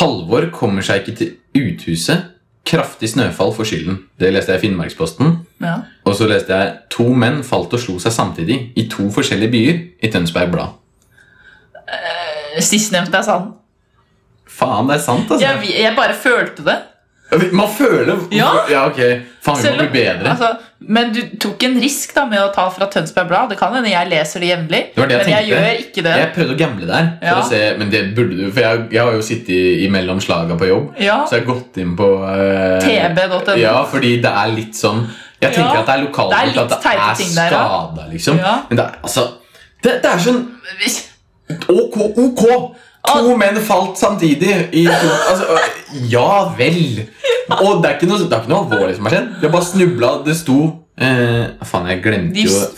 S2: Halvor kommer seg ikke til uthuset. Kraftig snøfall for skylden. Det leste jeg i Finnmarksposten.
S3: Ja.
S2: Og så leste jeg to menn falt og slo seg samtidig i to forskjellige byer i Tønsberg Blad.
S3: Sistnevnte er sann.
S2: Faen, det er sant, altså.
S3: Jeg, vi- jeg bare følte det.
S2: Man føler
S3: Ja.
S2: ok. Faen, vi må
S3: Selv om-
S2: bli bedre.
S3: Altså, men du tok en risk da med å ta fra Tønsberg Blad. Det kan hende jeg leser det jevnlig,
S2: Det var det jeg
S3: men jeg
S2: tenkte.
S3: gjør ikke det.
S2: Jeg prøvde å gamble der, for
S3: Ja.
S2: å se, men det burde du. For jeg, jeg har jo sittet i- imellom slaga på jobb,
S3: Ja.
S2: så jeg har gått inn på eh,
S3: TB.no.
S2: Ja, fordi det er litt sånn Jeg tenker
S3: Ja.
S2: at det er lokalt
S3: Det er
S2: at
S3: litt
S2: det
S3: teite
S2: er
S3: ting der, ja.
S2: skada, liksom.
S3: Ja.
S2: Men det er altså Det, det er sånn Ok, ok! To
S3: Ah.
S2: menn falt samtidig i to altså, øh, Ja vel! Og det er ikke noe, det er ikke noe alvorlig som har skjedd. De har bare snubla. Det sto eh, Faen, jeg
S3: De,
S2: glemte jo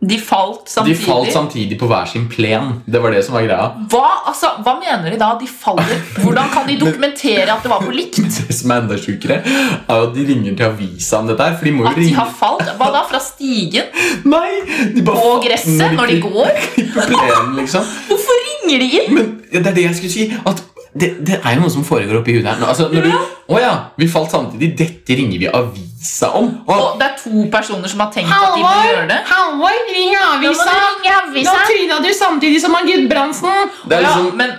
S3: de falt
S2: De
S3: samtidig.
S2: falt samtidig på hver sin plen. Det var det som var greia.
S3: hva, altså, hva mener de da? De faller? Hvordan
S2: *laughs*
S3: kan de dokumentere at det var på likt?
S2: Det som er enda sjukere, er jo at de ringer til avisa om dette her. For de må jo
S3: At de
S2: ringe
S3: har falt? Hva da? Fra stigen?
S2: Nei! De bare
S3: På gresset? Når de går?
S2: klipper plenen, liksom.
S3: Hvorfor ringer de inn?
S2: Men det er det jeg skulle si. At det, det er jo noe som foregår oppi huet her. Altså, når du Å ja, vi falt samtidig. Dette ringer vi avisa om. Og,
S3: Og det er to personer som har tenkt at de bør gjøre det.
S4: Halvor, ring avisa! Nå tryna du samtidig som han Gudbrandsen!
S2: det er
S3: Ja,
S2: liksom
S3: men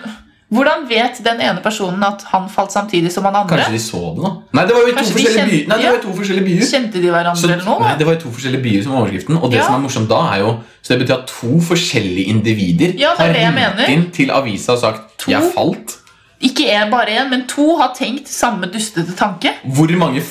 S3: hvordan vet den ene personen at han falt samtidig som han andre?
S2: Kanskje de så det, da? Nei, det var jo i to
S3: Kanskje de
S2: forskjellige
S3: kjente-
S2: byer. Nei, det
S3: ja.
S2: var i to forskjellige byer.
S3: Kjente de hverandre
S2: Så,
S3: eller noe?
S2: nei, det var jo to forskjellige byer som var overskriften. Og det
S3: Ja.
S2: som er morsomt da er jo Så det betyr at to forskjellige individer
S3: Ja, det er
S2: har
S3: det jeg mener.
S2: ringt inn til avisa og sagt 'jeg falt'.
S3: Ikke en, bare én, men to har tenkt samme dustete tanke.
S2: Hvor mange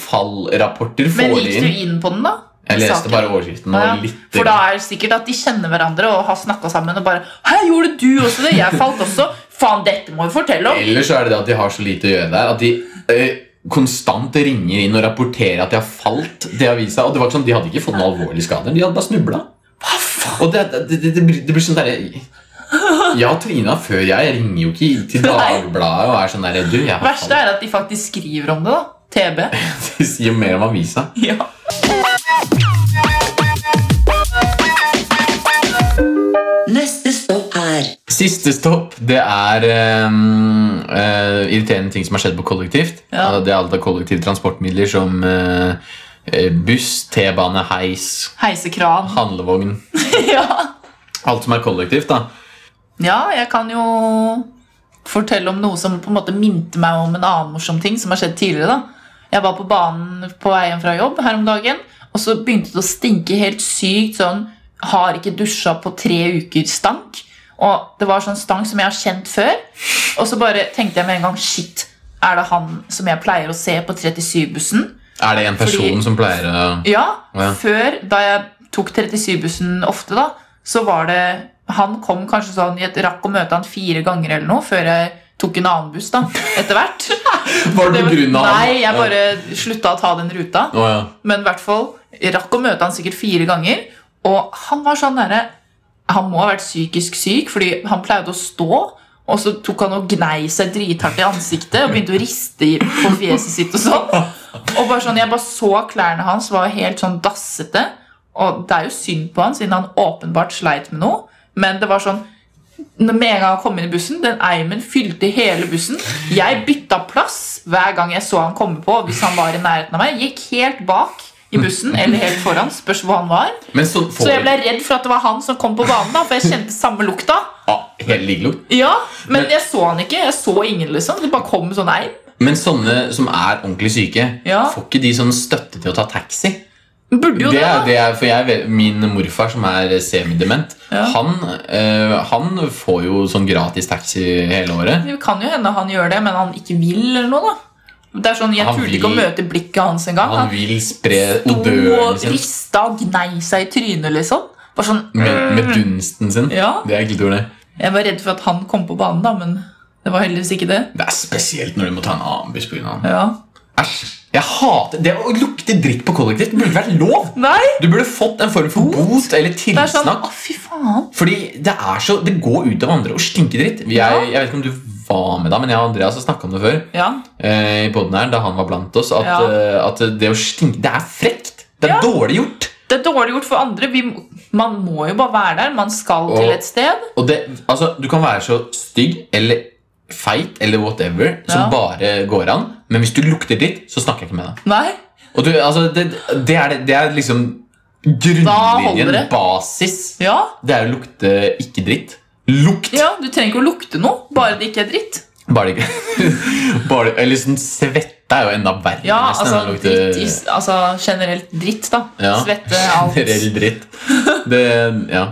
S2: fallrapporter får
S3: Men
S2: de
S3: gikk
S2: inn?
S3: du inn på den, da?
S2: Jeg leste
S3: Saken?
S2: bare overskriften.
S3: Ja,
S2: Og
S3: ja.
S2: litt
S3: For da er det sikkert at de kjenner hverandre og har snakka sammen og bare 'Hei, gjorde du også det? Jeg falt også.' Faen, dette må vi fortelle om.
S2: Ellers så er det det at de har så lite å gjøre der. At de eh, konstant ringer inn og rapporterer at de har falt. til avisa, og det var ikke sånn, De hadde ikke fått noen alvorlige skader. De hadde bare snubla. Og det, det, det, det, blir, det blir sånn derre Jeg og Trina før jeg ringer jo ikke til
S3: Nei.
S2: Dagbladet og er sånn derre Du, jeg har
S3: Verste er at de faktisk skriver om det, da. TB.
S2: *laughs* Det sier mer om avisa.
S3: Ja.
S1: Neste stopp er
S2: Siste stopp det er ehm, eh, irriterende ting som har skjedd på kollektivt.
S3: Ja.
S2: Altså, Det er alt av kollektivtransportmidler som eh, eh, buss, T-bane, heis,
S3: Heisekran.
S2: handlevogn.
S3: *laughs* ja.
S2: Alt som er kollektivt. da
S3: ja, jeg kan jo fortelle om noe som på en måte minte meg om en annen morsom ting som har skjedd tidligere. da. Jeg var på banen på vei hjem fra jobb her om dagen, og så begynte det å stinke helt sykt sånn har ikke dusja på tre uker stank. Og det var sånn stank som jeg har kjent før. Og så bare tenkte jeg med en gang shit, er det han som jeg pleier å se på 37-bussen?
S2: Er det en person
S3: Fordi-
S2: som pleier å
S3: *laughs* Ja,
S2: Ja.
S3: før, da jeg tok 37-bussen ofte, da, så var det Han kom kanskje sånn Jeg rakk å møte han fire ganger eller noe før jeg tok en annen buss, da, etter hvert.
S2: *laughs* Var det
S3: Det
S2: på
S3: var-
S2: grunn av han?
S3: Nei, jeg bare slutta å ta den ruta.
S2: Å, ja.
S3: Men i hvert fall jeg rakk å møte han sikkert fire ganger, og han var sånn derre Han må ha vært psykisk syk, fordi han pleide å stå. Og så tok han og gnei seg drithardt i ansiktet og begynte å riste i- på fjeset sitt. og sånn. Og bare sånn, Jeg bare så klærne hans var helt sånn dassete. Og det er jo synd på han, siden han åpenbart sleit med noe. Men det var sånn når- med en gang han kom inn i bussen, den eimen fylte hele bussen. Jeg bytta plass hver gang jeg så han komme på. Hvis han var i nærheten av meg, gikk helt bak i bussen eller helt foran. Spørs hvor han var.
S2: Men sånn får
S3: Så jeg ble redd for at det var han som kom på banen, da, for jeg kjente samme lukta.
S2: ah, Helt lik lukt.
S3: Ja, Men jeg så han ikke. Jeg så ingen, liksom. Det bare kom en sånn eim.
S2: Men sånne som er ordentlig syke,
S3: Ja.
S2: får ikke de sånn støtte til å ta taxi?
S3: Burde jo
S2: det
S3: det,
S2: er,
S3: da.
S2: det er, for jeg, vet- Min morfar, som er eh, semidement,
S3: Ja.
S2: han, eh, han får jo sånn gratis taxi hele året.
S3: Det kan jo hende han gjør det, men han ikke vil eller noe, da. Det er sånn, Jeg
S2: Han
S3: turte
S2: vil-
S3: ikke å møte blikket hans engang.
S2: Han vil spre
S3: sto
S2: odøren
S3: og
S2: sin
S3: rista og gnei seg i trynet, liksom. Bare sånn,
S2: med, med dunsten sin.
S3: Ja.
S2: Det er ekkelt ord, det.
S3: Jeg var redd for at han kom på banen, da, men det var heldigvis ikke det.
S2: Det er spesielt når du må ta en annen buss pga. han.
S3: Ja.
S2: Æsj! Jeg hater Det å lukte dritt på kollektivt burde vært lov!
S3: Nei!
S2: Du burde fått en form for bot eller
S3: Det er sånn,
S2: tilsnakk.
S3: å fy faen.
S2: Fordi det er så Det går ut av andre og stinker dritt. Jeg,
S3: Ja.
S2: jeg vet ikke om du var med da, men jeg og Andreas har snakka om det før.
S3: Ja,
S2: eh, I podden her, da han var blant oss, at,
S3: Ja.
S2: eh, at det å stinke Det er frekt! Det er
S3: Ja.
S2: dårlig gjort!
S3: Det er dårlig gjort for andre. Vi, må- man må jo bare være der. Man skal til
S2: Og-
S3: et sted.
S2: Og det, altså, du kan være så stygg eller feit eller whatever som
S3: Ja.
S2: bare går an, men hvis du lukter dritt, så snakker jeg ikke med deg.
S3: Nei.
S2: Og du, altså, det, det, er, det- det er liksom
S3: Da holder
S2: grunnlinjen,
S3: det.
S2: basis.
S3: Ja,
S2: Det er å lukte ikke dritt. Lukt!
S3: ja du trenger ikke å lukte noe, bare det ikke er dritt.
S2: Bare det ikke *laughs* bare, Eller sånn svette er jo enda verre.
S3: Ja,
S2: nesten,
S3: altså,
S2: enn å lukte-
S3: dritt, i- altså generelt dritt, da.
S2: Ja, *laughs*
S3: Svette, alt.
S2: Generell dritt. Det, ja.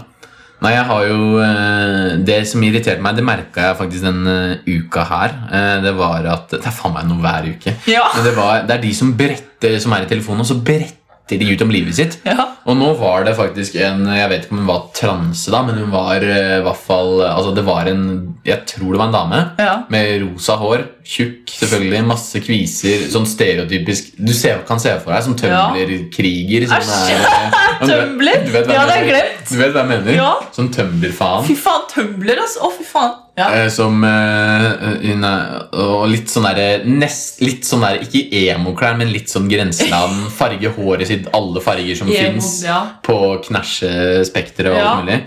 S2: Nei, jeg har jo eh, Det som irriterte meg, det merka jeg faktisk denne uka her. eh, Det var at Det er faen meg noe hver uke.
S3: Ja.
S2: Men det, var, det er de som beretter Som er i telefonen, og så beretter de ut om livet sitt.
S3: Ja.
S2: Og nå var det faktisk en Jeg vet ikke om hun var transe, da, men hun var eh, i hvert fall Altså, det var en Jeg tror det var en dame.
S3: Ja.
S2: Med rosa hår, tjukk, selvfølgelig, masse kviser. Sånn stereotypisk Du ser, kan se for deg som tømlerkriger. som
S3: Æsj!
S2: er- Ja,
S3: *laughs*
S2: men du vet-
S3: Tumblr?
S2: du vet hva
S3: Ja,
S2: jeg
S3: det har jeg
S2: mener.
S3: glemt.
S2: Du vet hva jeg mener?
S3: Ja.
S2: Sånn tømlerfaen.
S3: Fy faen, tømler, altså. Å, fy faen. Ja.
S2: Eh, som eh, hun er- Og litt sånn derre nest- Litt sånn derre Ikke emoklær, men litt sånn grenseland. Farge håret sitt, alle farger som
S3: Emo,
S2: fins.
S3: ja.
S2: På knæsjespekteret og
S3: Ja.
S2: alt mulig.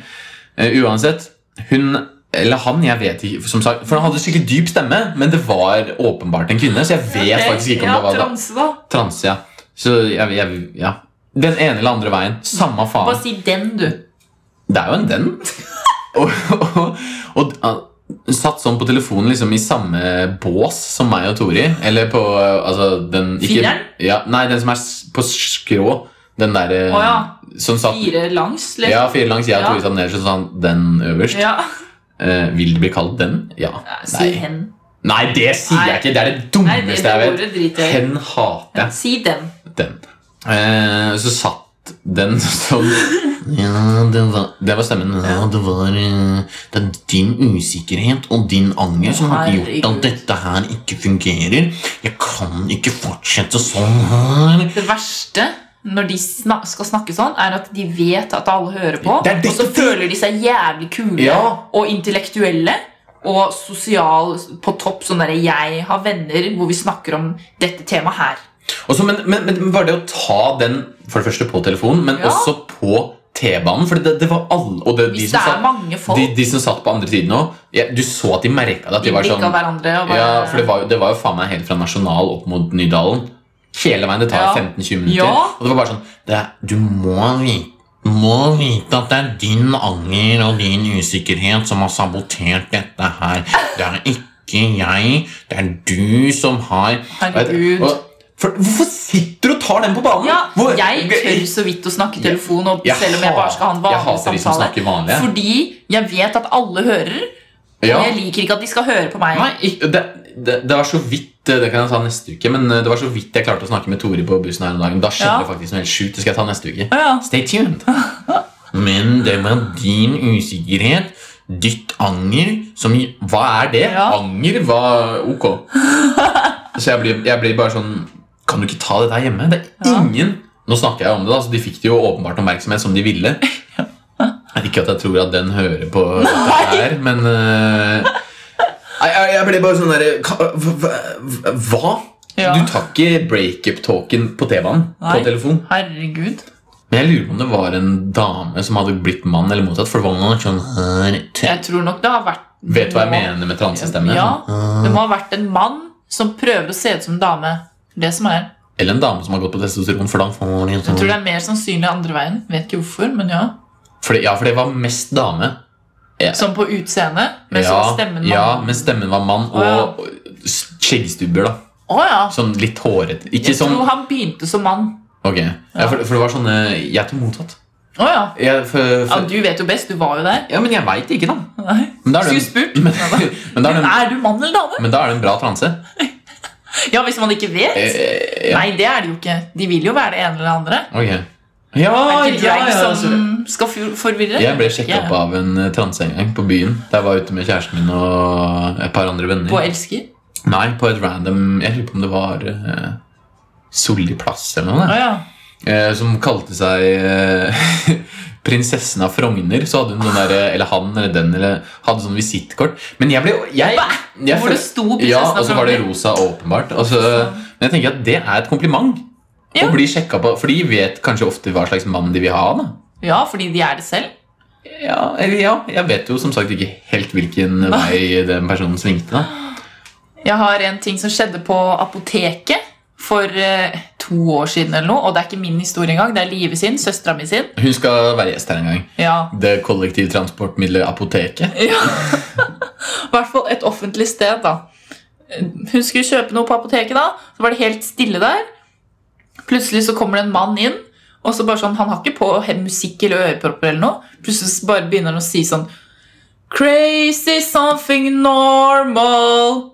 S2: Eh, uansett, hun eller han, jeg vet ikke, som sagt, for han hadde skikkelig dyp stemme, men det var åpenbart en kvinne. Så jeg vet
S3: Ok,
S2: faktisk ikke om
S3: ja,
S2: det var da-
S3: transe, da.
S2: transe. Ja. Så jeg, jeg, ja. Den ene eller andre veien. Samme faen.
S3: Bare si den, du.
S2: Det er jo en den.
S3: *laughs*
S2: og, og, og, og satt sånn på telefonen liksom i samme bås som meg og Tori. Eller på eh, altså, den ikke-
S3: Fireren?
S2: Ja, nei, den som er s- på skrå. Den derre
S3: Å ja.
S2: som satt
S3: Fire langs, liksom.
S2: Ja, fire langs. Jeg og
S3: Ja.
S2: Tori satt nederst og sånn den øverst.
S3: Ja.
S2: Eh, vil det bli kalt den? Ja.
S3: Si hen.
S2: nei, det sier jeg
S3: Nei.
S2: ikke! Det er det
S3: Nei, det,
S2: dummeste
S3: det
S2: jeg vet.
S3: ordet driter jeg i.
S2: Hen hater jeg.
S3: Si den.
S2: den. Eh, så satt den sånn Ja, det var, det var stemmen. Ja, det var eh, Det er din usikkerhet og din anger som har gjort at
S3: Herregud.
S2: dette her ikke fungerer. Jeg kan ikke fortsette sånn her.
S3: Det verste når de sna skal snakke sånn, er at de vet at alle hører på.
S2: Det er det
S3: Og så
S2: som-
S3: føler de seg jævlig kule
S2: Ja.
S3: og intellektuelle. og sosial på topp. Sånn der jeg har venner hvor vi snakker om dette temaet her.
S2: Og så- men, men, men bare det å ta den for det første på telefonen, men
S3: Ja.
S2: også på T-banen. For det, det var alle og det, de,
S3: Hvis det
S2: som
S3: er
S2: satt,
S3: mange folk,
S2: de, de som satt på andre siden òg, ja, du så at de merka det. At
S3: de
S2: de var
S3: blikka
S2: sånn
S3: hverandre og bare
S2: Ja, for det var, jo- det var jo faen meg helt fra Nasjonal opp mot Nydalen. Hele veien. Det tar
S3: Ja.
S2: 15-20 minutter.
S3: Ja.
S2: Og det var bare sånn det er, Du må vite må vite at det er din anger og din usikkerhet som har sabotert dette her. Det er ikke jeg, det er du som har
S3: Herregud.
S2: Og- For, hvorfor sitter du og tar den på banen?
S3: Ja,
S2: Hvor-
S3: jeg tør så vidt å snakke i telefon, og
S2: Jeg
S3: selv om jeg bare skal ha en
S2: hat- jeg
S3: vanlig
S2: hater de som
S3: samtale.
S2: snakker vanlig.
S3: Fordi jeg vet at alle hører, og
S2: Ja.
S3: jeg liker ikke at de skal høre på meg.
S2: Nei, ikk- det, det, det var så vidt eh, Det kan jeg ta neste uke Men eh, det var så vidt jeg klarte å snakke med Tore på bussen her om dagen Da skjedde
S3: Ja.
S2: det faktisk noe helt sjukt Det skal jeg ta neste uke
S3: Ja,
S2: Stay
S3: *laughs*
S2: tuned Men det var din usikkerhet Ditt anger som, gi- Hva er det?
S3: Ja.
S2: Anger var ok
S3: *laughs*
S2: Så jeg blir, jeg blir bare sånn Kan du ikke ta dette her hjemme? Det er
S3: Ja.
S2: ingen Nå snakker jeg om det da Så de fikk det jo åpenbart oppmerksomhet som de ville Ikke at jeg tror at den hører
S3: *laughs*
S2: på dette her Men eh, Nei, jeg, jeg ble bare sånn der ka- hva- hva- Hva?
S3: Ja.
S2: Du tar ikke breakup-talken på T-banen På
S3: Nei.
S2: telefon
S3: Herregud.
S2: men jeg lurer på om det var en dame som hadde blitt mann eller motsatt. For det var noe sånn her t-
S3: Jeg tror nok det har vært
S2: Vet du hva jeg mener med transestemme?
S3: Ja,
S2: Sånn,
S3: det må ha vært en mann som prøver å se ut som en dame. Det som er.
S2: Eller en dame som har gått på testosteron. For da får de
S3: Jeg
S2: sånn.
S3: tror det er mer sannsynlig andre veien. Vet ikke hvorfor, men ja.
S2: Fordi- ja, for det var mest dame.
S3: Som på utseendet, men så var
S2: ja,
S3: stemmen mann.
S2: ja, men stemmen var mann.
S3: Å, ja.
S2: Og og s- skjeggstubber, da.
S3: Å ja.
S2: Sånn litt hårete. Ikke
S3: Jeg tror
S2: sånn
S3: han begynte som mann.
S2: Ok, ja, for, for det var sånn eh, Jeg tror motsatt.
S3: Å ja.
S2: Jeg, for,
S3: ja.
S2: for,
S3: Du vet jo best, du var jo der.
S2: ja, men jeg veit ikke, da.
S3: Nei.
S2: Men da er
S3: Skulle
S2: det
S3: spurt.
S2: en, *laughs* men, men da er det en,
S3: Er du mann eller dame?
S2: men da er det en bra transe.
S3: Ja, hvis man ikke vet.
S2: Eh, ja.
S3: Nei, det er det jo ikke. De vil jo være det ene eller det andre.
S2: Ok. Ja,
S3: Er det ikke
S2: ja,
S3: jeg
S2: ja,
S3: som
S2: selvfølgelig.
S3: skal for- forvirre?
S2: Jeg ble sjekka
S3: Ja.
S2: opp av en eh, transe en gang på byen. Da jeg var ute med kjæresten min og et par andre venner.
S3: På elsker?
S2: Nei, på et random Jeg lurer på om det var eh, Solli plass eller noe.
S3: Å
S2: da.
S3: ja.
S2: Eh, som kalte seg eh, *laughs* Prinsessen av Frogner. Så hadde hun den der, eh, eller han eller den eller hadde sånn visittkort. Men jeg ble jeg, jeg
S3: Hvor
S2: føl-
S3: det sto prinsessen
S2: ja,
S3: av
S2: og så var det
S3: Frogner.
S2: rosa, åpenbart. Og så, men jeg tenker at det er et kompliment.
S3: Ja.
S2: Å bli sjekket på, For de vet kanskje ofte hva slags mann de vil ha. da
S3: Ja, fordi de er det selv.
S2: Ja, eller ja, jeg vet jo som sagt ikke helt hvilken vei den personen svingte. da.
S3: Jeg har en ting som skjedde på apoteket for eh, to år siden, eller noe, og det er ikke min historie engang. Det er Live sin, søstera mi sin.
S2: Hun skal være gjest her en gang.
S3: Ja.
S2: Det kollektivtransportmiddelet Apoteket.
S3: I hvert fall et offentlig sted, da. Hun skulle kjøpe noe på apoteket, da. Så var det helt stille der. Plutselig så kommer det en mann inn, og så bare sånn Han har ikke på he- musikk eller ørepropper eller noe. Plutselig så bare begynner han å si sånn Crazy something normal.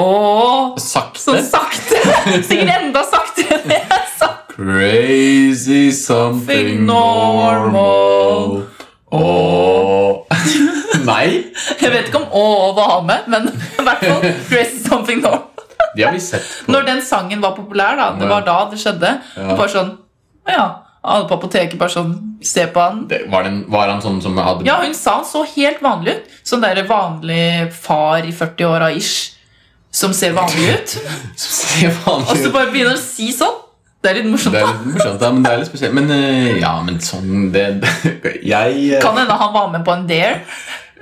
S3: Åh,
S2: Sakte.
S3: Sånn sakte. *laughs* Sikkert enda saktere *laughs* enn det jeg sa.
S2: Crazy something normal. Åh Nei,
S3: Jeg vet ikke om å var med, men i hvert fall Crazy Something Normal.
S2: de har vi sett på.
S3: Når den sangen var populær, da, det var da det skjedde.
S2: Ja.
S3: Bare sånn å Ja, alle på apoteket bare sånn Se på han.
S2: Det, var, den, var han sånn som hadde
S3: Ja, hun sa han så helt vanlig ut. Sånn der vanlig far i 40-åra ish som ser vanlig ut.
S2: *laughs* Se
S3: Og så
S2: vanlig ut.
S3: bare begynner han å si sånn. Det er litt morsomt.
S2: Det er
S3: da.
S2: litt morsomt, da, men det er litt spesielt. Men eh, ja, men sånn det, Jeg eh,
S3: Kan hende han var med på en dare.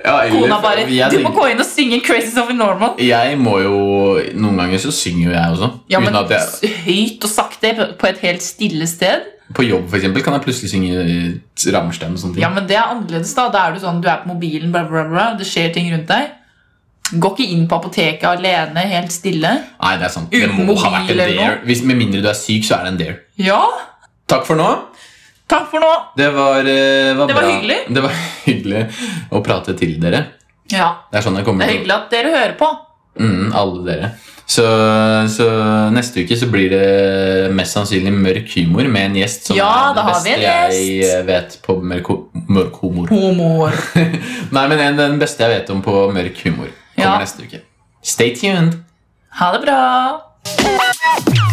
S2: ja, eller-
S3: Kona bare
S2: jeg
S3: 'Du må
S2: tenker-
S3: gå inn og synge Crazy Something Normal'.
S2: Jeg må jo Noen ganger så synger jo jeg også.
S3: Ja, men
S2: uten at jeg,
S3: høyt og sakte på et helt stille sted.
S2: på jobb for eksempel, kan jeg plutselig synge eh, Rammstein og sånne ting.
S3: Ja, men det er annerledes da. Da er du sånn, du er på mobilen, bla bla bla, det skjer ting rundt deg. Gå ikke inn på apoteket alene, helt stille.
S2: Nei, det er sant. Det
S3: Uten
S2: må ha vært en
S3: mobil eller
S2: dare. Hvis, med mindre du er syk, så er det en dare.
S3: Ja,
S2: Takk for nå.
S3: takk for nå.
S2: Det var, eh,
S3: Det var
S2: bra.
S3: hyggelig.
S2: Det var *laughs* hyggelig å prate til dere.
S3: Ja,
S2: Det er sånn jeg
S3: det
S2: kommer
S3: er
S2: til
S3: hyggelig at dere hører på.
S2: mm, alle dere. Så, så neste uke så blir det mest sannsynlig mørk humor med en gjest som
S3: Ja,
S2: er det
S3: da har vi
S2: beste
S3: en
S2: jeg
S3: gjest.
S2: eh, vet på mørk, ho- mørk humor. *laughs*
S3: Humor.
S2: Nei, men en- den beste jeg vet om på mørk humor kommer
S3: Ja.
S2: neste uke. Stay tuned!
S3: Ha det bra.